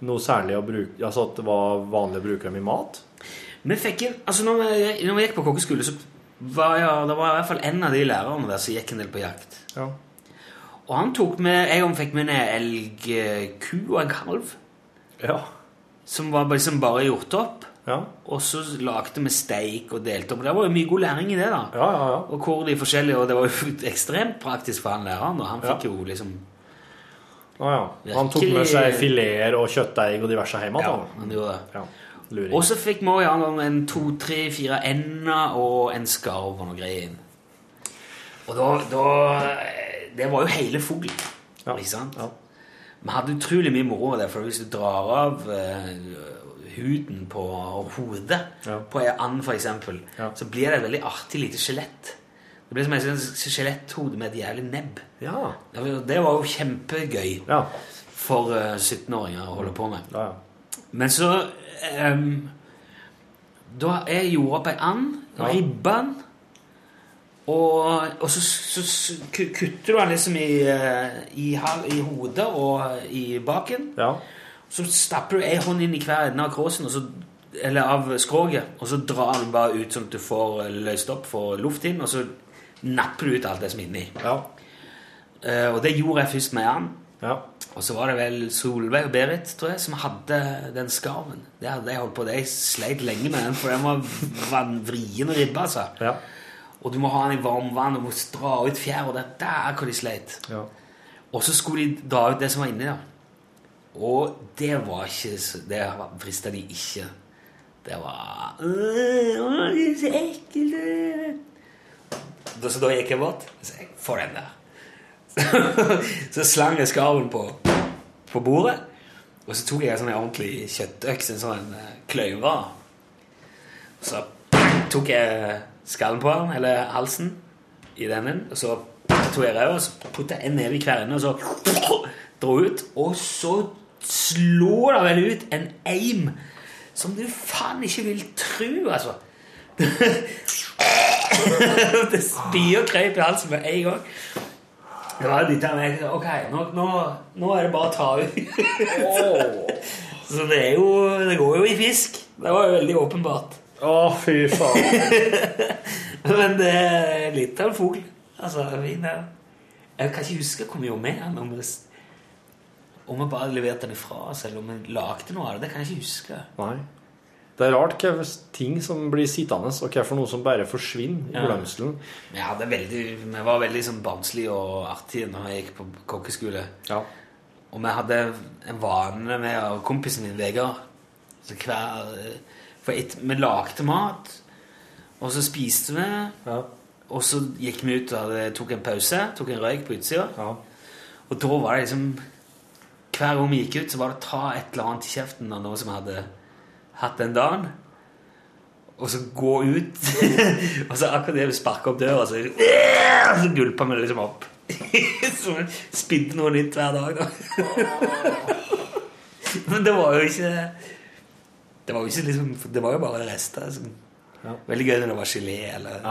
S7: noe særlig å bruke Altså at det var vanlig å bruke dem i mat.
S1: Vi fikk en, altså når vi, når vi gikk på kokkeskole, så var jeg, det var i hvert fall en av de lærerne der som gikk en del på jakt.
S7: Ja.
S1: Og han tok med, jeg fikk med en elg, eh, ku og en kalv.
S7: Ja.
S1: Som var liksom bare gjort opp.
S7: Ja.
S1: Og så lagde vi steik og delte opp. Det var jo mye god læring i det, da. Og hvor de forskjellige, og det var jo ekstremt praktisk for han læreren, og han fikk jo liksom
S7: Å ja. Han tok med seg fileter og kjøttdeig og diverse hjem
S1: Ja,
S7: igjen.
S1: han gjorde det.
S7: Ja. Luring.
S1: Og så fikk vi også i andre omgang en to, tre, fire ender og en skarv og noe greier inn. Og da, da Det var jo hele fuglen. Ikke sant? Vi hadde utrolig mye moro av det, for hvis du drar av eh, huden på hodet på en and, for eksempel, så blir det et veldig artig lite skjelett. Det blir som et sånt skjeletthode med et jævlig nebb.
S7: Ja.
S1: Det var- Det var jo kjempegøy for eh, 17-åringer å holde på med. Men så ehm, Da jeg gjorde opp ei and,
S7: Ja.
S1: ribba den, og, og så, så, så ku- kutter du den liksom i, eh, i, hal- i hodet og eh, i baken. Så stapper du ei hånd inn i hver ende av kråsen, og så, eller av skroget, og så drar den bare ut sånn at du får løst opp, får luft inn, og så napper du ut alt det som er inni. Eh, og det gjorde jeg først med en and. Og så var det vel Solveig og Berit tror jeg, som hadde den skarven. Det hadde jeg holdt på Jeg sleit lenge med den, for den var van- vrien ribbe. altså. Og du må ha den i varmvann og du må dra ut fjær, og det der hvor de sleit. Og så skulle de dra ut det som var inni der. Og det var ikke så- Det frista de ikke. Det var «Åh, det er så ekkelt. Da- Så da gikk jeg bort og sa Få den der. Så slang jeg skarven på, på bordet. Og så tok jeg en sånn her ordentlig kjøttøks, en sånn eh, kløyve. Så tok jeg skallen på den, eller halsen, i denne. Og så tok jeg ræva, og så putta jeg en neve i hver ende, og så dro ut. Og så slo det vel ut en eim som du faen ikke vil tru, altså. det spyr krøyp i halsen med en gang. Det var jo litt av meg. Ok, nå, nå, nå er det bare å ta ut. Så det er jo Det går jo i fisk. Det var jo veldig åpenbart.
S7: Å, fy faen.
S1: Men det er litt av en fugl. Altså, fin er den. Jeg kan ikke huske hvor mye om med den. Om vi, om vi bare leverte den ifra oss, eller om vi lagde noe av det. Det kan jeg ikke huske.
S7: Nei. Det er rart hva ting som blir sittende, og hva for noe som bare forsvinner i
S1: Ja.
S7: glemselen.
S1: Men jeg hadde veldig, vi var veldig sånn barnslige og artige når jeg gikk på kokkeskole. Og vi hadde en vane med og kompisen min, Vegard så hver, For et, vi lagde mat, og så spiste vi. Og så gikk vi ut og hadde, tok en pause, tok en røyk på utsida. Og da var det liksom Hver gang vi gikk ut, så var det å ta et eller annet i kjeften av noe som vi hadde hatt den dagen. Og så gå ut Og så akkurat det vi sparker opp døra, så, så gulper vi liksom opp. så vi spydde noe nytt hver dag, da. Men det var jo ikke Det var jo ikke liksom Det var jo bare rester. Liksom. Veldig gøy når det var gelé eller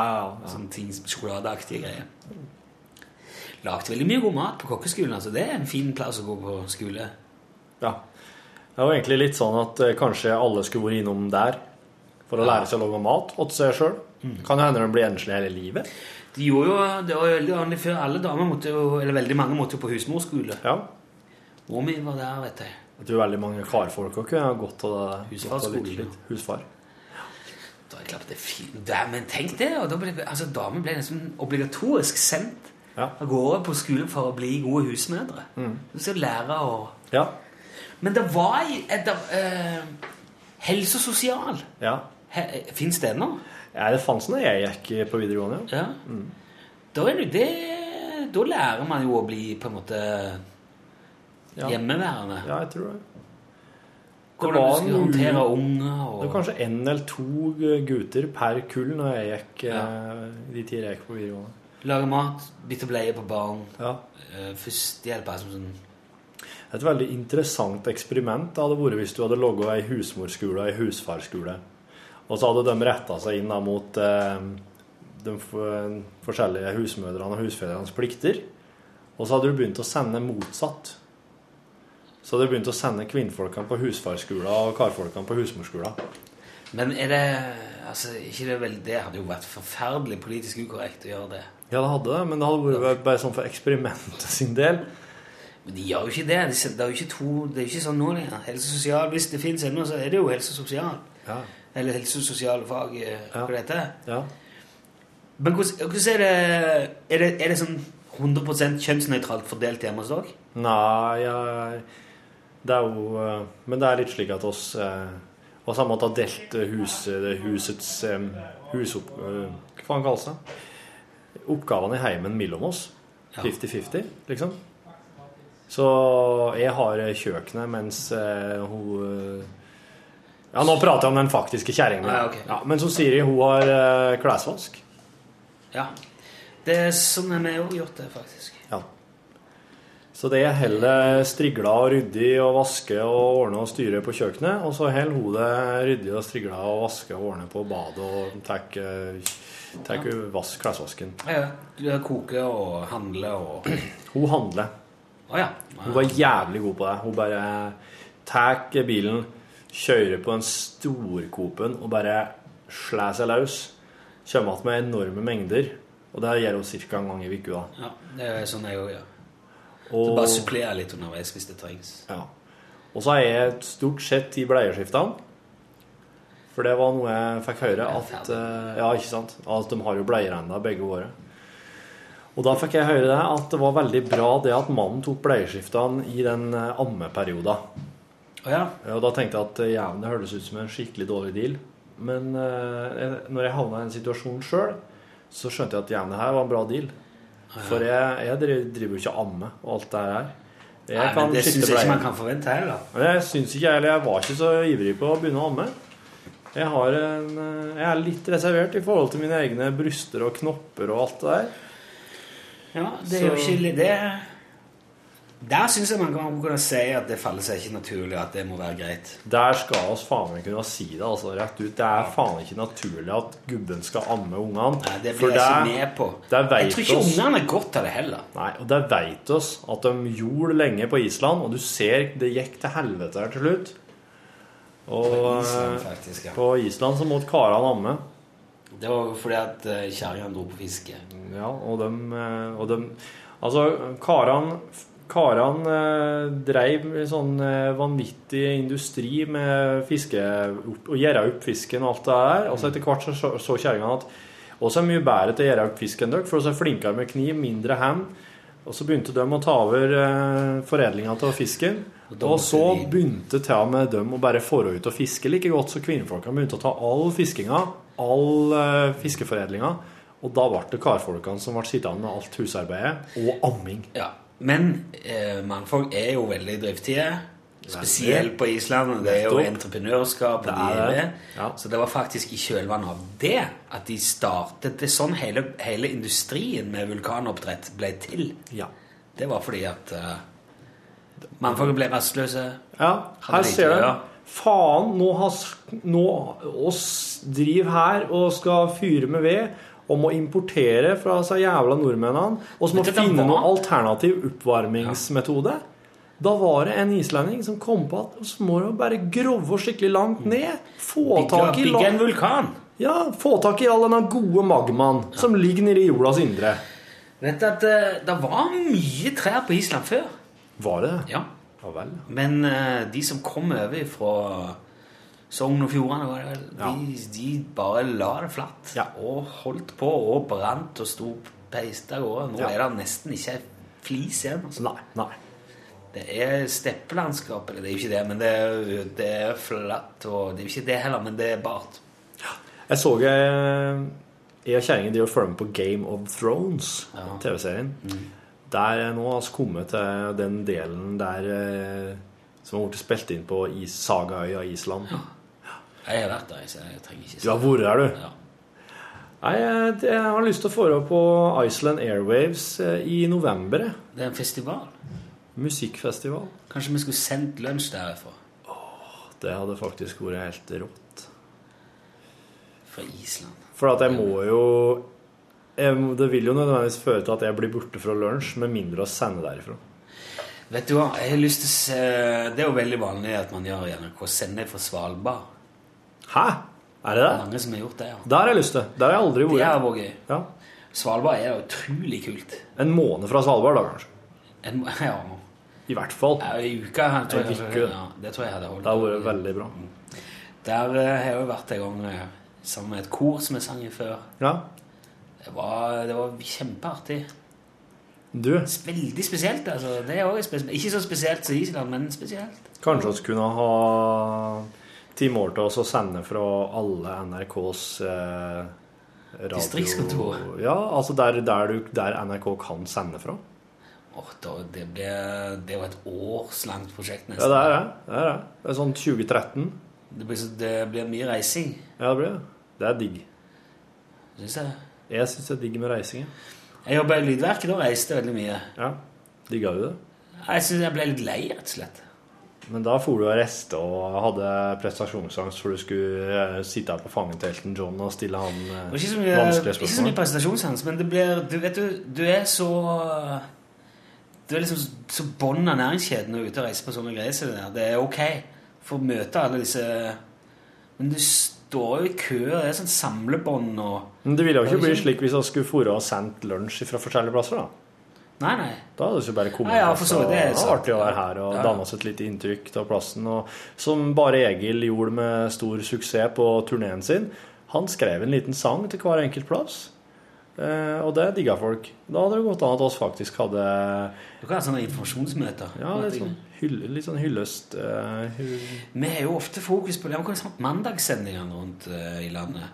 S1: sånne ting sjokoladeaktige greier. Lagde veldig mye god mat på kokkeskolen. altså Det er en fin plass å gå på skole.
S7: Ja. Det var egentlig litt sånn at eh, kanskje alle skulle vært innom der for å lære seg å lage mat åt seg sjøl. Kan hende de blir enslige hele livet.
S1: De gjorde jo, det var jo veldig vanlig før. Alle damer måtte jo, eller veldig mange måtte jo på husmorskole.
S7: Ja.
S1: Mor mi var der, vet jeg.
S7: Jeg tror veldig mange karfolk også kunne ha godt av det.
S1: Husfar
S7: godt av litt
S1: skole, ja.
S7: slikt. Husfar.
S1: Da er det klart det er fint. Det er- Men tenk det! og da ble, altså Damer ble nesten obligatorisk sendt av gårde på skole for å bli gode husmødre. Du skal lære å Men det var i- et, eh, Helse og sosial.
S7: Ja.
S1: Fins det ennå?
S7: Ja, det fantes da jeg gikk på videregående.
S1: Ja.
S7: Mm.
S1: Da, er det, det, da lærer man jo å bli på en måte hjemmeværende.
S7: Ja, jeg tror det.
S1: Hvordan du skal håndtere unger
S7: Det var
S1: og
S7: kanskje én eller to gutter per kull når jeg gikk eh, de ti jeg gikk på videregående.
S1: Lage mat, bytte bleie på barn.
S7: Ja.
S1: eh, Førstehjelp er som sånn
S7: Et veldig interessant eksperiment det hadde vært hvis du hadde laga ei husmorskole og ei husfarskole, og så hadde de retta seg inn da mot eh, de f- forskjellige husmødrene og husfedrenes plikter. Og så hadde du begynt å sende motsatt. Så hadde du begynt å sende kvinnfolkene på husfarskolen og karfolkene på husmorskolen.
S1: Men er det altså, ikke det, vel, det hadde jo vært forferdelig politisk ukorrekt å gjøre det.
S7: Ja, det hadde det, men det hadde vært bare sånn for eksperimentet sin del.
S1: Men de gjør jo ikke det. De sender- Det er jo ikke, to, det er jo ikke sånn nå lenger. Helse og sosial, hvis det fins ennå, så er det jo helse og sosial.
S7: Ja.
S1: Eller helse og sosiale fag, eh, hva det heter.
S7: Ja.
S1: Men hvordan, hvordan er, det, er det Er det sånn 100 kjønnsnøytralt fordelt hjemme hos dere?
S7: Nei, jeg, det er jo eh, Men det er litt slik at oss eh, oss har måttet ha delt eh, huset, det husets eh, husopp... eh, Hva faen kalles det? Oppgavene i heimen mellom oss. 50-50, liksom. Så jeg har eh, kjøkkenet, mens eh, hun eh, Ja, nå prater jeg om den faktiske kjerringa.
S1: Ja, ok.
S7: Ja, men så Siri, hun har eh, klesvask.
S1: Ja. Det er sånn vi har også gjort det, faktisk.
S7: Ja. Så det holder strigla og ryddig og vaske og ordne og styre på kjøkkenet, og så holder hun det ryddig og strigla og vaske og ordne på badet og tar tar vask klesvasken.
S1: Ja, ja. Koke og handle og
S7: Hun handler.
S1: Å ja.
S7: Hun var jævlig god på det. Hun bare tar bilen, kjører på den storkopen og bare slår seg løs. Kommer igjen med enorme mengder, og det gjør hun ca. en gang i uka.
S1: ja. Det er sånn jeg òg gjør.
S7: Og-
S1: Så bare supplere litt underveis hvis det trengs.
S7: Ja. Og så er jeg stort sett i bleieskiftene. For det var noe jeg fikk høre at eh, Ja, ikke sant? At de har jo bleier ennå, begge våre. Og da fikk jeg høre det at det var veldig bra det at mannen tok bleieskiftene i den eh, ammeperioden. Ja, Og da tenkte jeg at eh, jævlen, det hørtes ut som en skikkelig dårlig deal. Men eh, jeg- når jeg havna i en situasjon sjøl, så skjønte jeg at jævlen, det her var en bra deal. For jeg, jeg driver- driver jo ikke og amme og alt det her.
S1: Nei, men det
S7: skifte
S1: synes jeg ikke
S7: bleier.
S1: man kan forvente heller.
S7: Men Jeg syns ikke jeg heller. Jeg var ikke så ivrig på å begynne å amme. Jeg, har en, eh, jeg er litt reservert i forhold til mine egne bryster og knopper og alt det der.
S1: Ja, det er jo
S7: Så-
S1: ikke litt det Der syns jeg man kan kunne si at det faller seg ikke naturlig, at det må være greit.
S7: Der skal oss faen meg kunne si det altså, rett ut. Det er faen ikke naturlig at gubben skal amme ungene. Nei,
S1: det blir jeg ikke med på. Jeg tror ikke ungene er godt av det heller.
S7: Nei, og det veit oss at de gjorde lenge på Island, og du ser det gikk til helvete her til slutt. Og eh,
S1: På Island, faktisk, ja.
S7: på Island så måtte karene amme.
S1: Det var jo fordi at eh, kjerringa dro på fiske.
S7: Ja, og de, eh, og dem- Altså, karene Karan eh, dreiv med sånn eh, vanvittig industri med fiske opp, og gjøre opp fisken og alt det der. Og så etter hvert så, så- så kjerringa at også er mye bedre til å gjøre opp fisk enn dere, for vi er flinkere med kniv, mindre hand. Og så begynte de å ta over eh, foredlinga av fisken. Og så begynte til og med dem å bare fore ut og fiske like godt, så kvinnfolka begynte å ta all fiskinga, all eh, fiskeforedlinga. Og da ble det karfolkene som ble sittende med alt husarbeidet og amming.
S1: Ja. Men eh, mannfolk er jo veldig driftige. Spesielt på Island. og Det er jo
S7: Nettopp.
S1: entreprenørskap. og
S7: Det
S1: de
S7: er
S1: er
S7: det.
S1: med. Så det var faktisk i kjølvannet av det at de startet det er sånn hele, hele industrien med vulkanoppdrett ble til. Det var fordi at eh, mannfolk ble rastløse.
S7: Ja,
S1: Hadde
S7: her
S1: lite
S7: ser
S1: å
S7: du.
S1: gjøre.
S7: Faen, nå har s- nå oss driver her og skal fyre med ved og må importere fra disse jævla nordmennene. Og så
S1: Men
S7: må
S1: dette var-
S7: finne noen alternativ oppvarmingsmetode. Da var det en islending som kom på at så må jo bare grove skikkelig langt
S1: Mm.
S7: ned. Få
S1: Bygge-
S7: tak i
S1: bygge
S7: la-
S1: en vulkan.
S7: Ja, få tak i all denne gode magmaen som ligger nede i jordas indre.
S1: Vet du at eh, det var mye trær på Island før?
S7: Var det det?
S1: Ja.
S7: Ja vel.
S1: Men eh, de som kom over fra Sogn og Fjordane, var det vel, de, de bare la det flatt. Og holdt på og brant og sto peist av gårde. Nå
S7: Ja.
S1: er det nesten ikke en flis igjen. Altså.
S7: Nei,
S1: Det er steppelandskap, eller det er jo ikke det, men det er, det er flatt. Og det er jo ikke det heller, men det er bart.
S7: Jeg så jeg, jeg og kjerringen driver og følger med på Game of Thrones, TV-serien. Der er nå altså kommet til den delen der eh, som har blitt spilt inn på is Sagaøya Island.
S1: Jeg har vært der, så jeg trenger ikke
S7: Du har vært der, du? Nei, jeg, jeg har lyst til å få opp på Iceland Airwaves eh, i november. jeg.
S1: Det er en festival.
S7: Musikkfestival.
S1: Kanskje vi skulle sendt lunsj derfra?
S7: Det hadde faktisk vært helt rått.
S1: Fra Island.
S7: For at jeg må jo eh, det vil jo nødvendigvis føre til at jeg blir borte fra lunsj, med mindre å sende derifra.
S1: Vet du hva, jeg har lyst til å se Det er jo veldig vanlig at man gjør i NRK. Sender fra Svalbard.
S7: Hæ? Er det det?
S1: Mange som har gjort det, ja.
S7: Der har jeg lyst til. Der har jeg aldri
S1: Det
S7: vært.
S1: er vår gøy. Svalbard er utrolig kult.
S7: En måned fra Svalbard, da kanskje.
S1: En, ja.
S7: I hvert fall.
S1: Ja, I uka. Tror
S7: En
S1: jeg,
S7: uke.
S1: ja, det tror jeg hadde holdt.
S7: Det har vært veldig bra.
S1: Mm. Der eh, har jeg jo vært en gang eh, sammen med et kor som jeg sang i før.
S7: Ja.
S1: Det var, det var kjempeartig.
S7: Du,
S1: Veldig spesielt, altså. Det er også spesielt. Ikke så spesielt som Island, men spesielt.
S7: kanskje vi kunne ha time år til oss å sende fra alle NRKs eh, radio...
S1: Distriktskontor.
S7: Ja, altså der, der, du, der NRK kan sende fra.
S1: Åh, da- det, ble, det var et årslangt prosjekt,
S7: Ja,
S1: nesten.
S7: det er det. Det er det. Det er sånn 2013.
S1: Det blir, så, det blir mye reising.
S7: Ja, det blir det. Det er digg.
S1: Syns jeg.
S7: Jeg syns det er digg med reising. jeg.
S1: Jeg jobba i Lydverket, da reiste jeg veldig mye.
S7: Ja, Digga du det?
S1: Jeg syns jeg ble litt lei, rett og slett.
S7: Men da for du og reste og hadde prestasjonsangst for du skulle eh, sitte her på fanget til Elton John og stille han eh,
S1: Det var Ikke så mye,
S7: vanskelige
S1: ikke så mye
S7: spørsmål.
S1: presentasjonshans, men det blir Du vet du, du er så Du er liksom så bånd av næringskjeden når du er ute og reiser på sånne greier som det der. Det er ok for å møte alle disse Men du står jo i kø, og det er sånn samlebånd og
S7: Men det ville jo ikke bli slik hvis vi skulle fôre og sendt lunsj fra forskjellige plasser, da.
S1: Nei, nei.
S7: Da hadde vi jo bare kommet
S1: Ja, ja,
S7: oss,
S1: for så vidt,
S7: og
S1: det er
S7: det var
S1: sant.
S7: artig å være her
S1: Ja,
S7: og danne
S1: ja.
S7: danne oss et lite inntrykk av plassen. Og som bare Egil gjorde med stor suksess på turneen sin, han skrev en liten sang til hver enkelt plass. Eh, og det digga folk. Da hadde det gått an at oss faktisk hadde
S1: Du kan ha sånne informasjonsmøter.
S7: ja, litt sånn, hylle, litt sånn hyllest eh, hu-
S1: Vi har jo ofte fokus på Vi har hatt mandagssendingene rundt eh, i landet.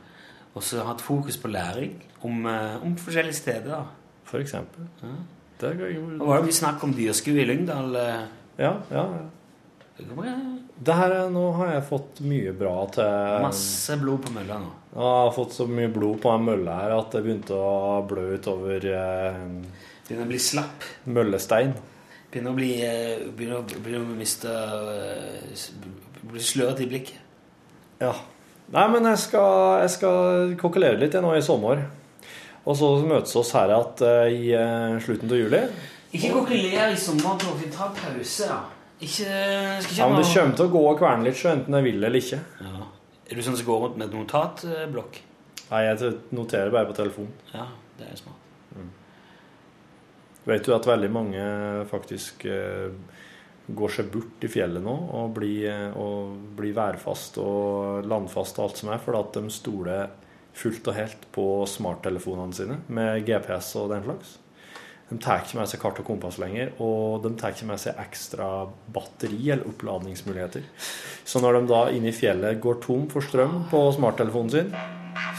S1: Og så hatt fokus på læring om, eh, om forskjellige steder. da.
S7: For eksempel.
S1: Ja.
S7: Det er gøy.
S1: Og var det mye snakk om dyrskue i Lyngdal? eh?
S7: Ja, ja.
S1: Det kommer jeg-
S7: Det her, er- nå har jeg fått mye bra til
S1: Masse blod på mølla nå.
S7: Jeg har fått så mye blod på den mølla her at det begynte å blø utover eh,
S1: Begynner å bli slapp.
S7: Møllestein.
S1: Begynner å bli eh, Begynner å, begynner å miste eh, s- Bli sløret i blikket.
S7: Ja. Nei, men jeg skal, jeg skal kokkelere litt jeg nå i sommer. Og så møtes oss her igjen eh, i eh, slutten av juli.
S1: Ikke kokkelere i sommer, Torfinn. Ta pause, da. Ikke Skal ikke
S7: Ja, men det
S1: ha-
S7: kommer til å gå og kverne litt, så enten jeg vil eller ikke.
S1: Ja. Er du sånn som går rundt med et notatblokk?
S7: Nei, jeg noterer bare på telefonen.
S1: Ja, det er smart.
S7: Vet du at veldig mange faktisk eh, går seg bort i fjellet nå og blir, eh, og blir værfast og landfast og alt som er, fordi at de stoler fullt og helt på smarttelefonene sine med GPS og den slags. De tar ikke med seg kart og kompass lenger, og de tar ikke med seg ekstra batteri eller oppladningsmuligheter. Så når de da inne i fjellet går tom for strøm på smarttelefonen sin,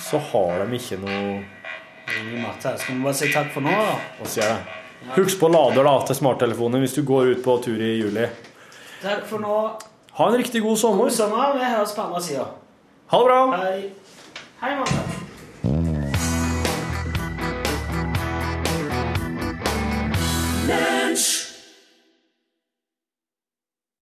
S7: så har de ikke noe
S1: Ingen matte her. Skal vi bare si takk for nå, da?
S7: og sier det. Husk på lader da til smarttelefonen hvis du går ut på tur i juli.
S1: Takk for nå.
S7: Ha en riktig god sommer.
S1: God sommer. Vi høres på andre sida.
S7: Ha det bra.
S1: Hei. Hei, Martha.
S11: Lunsj!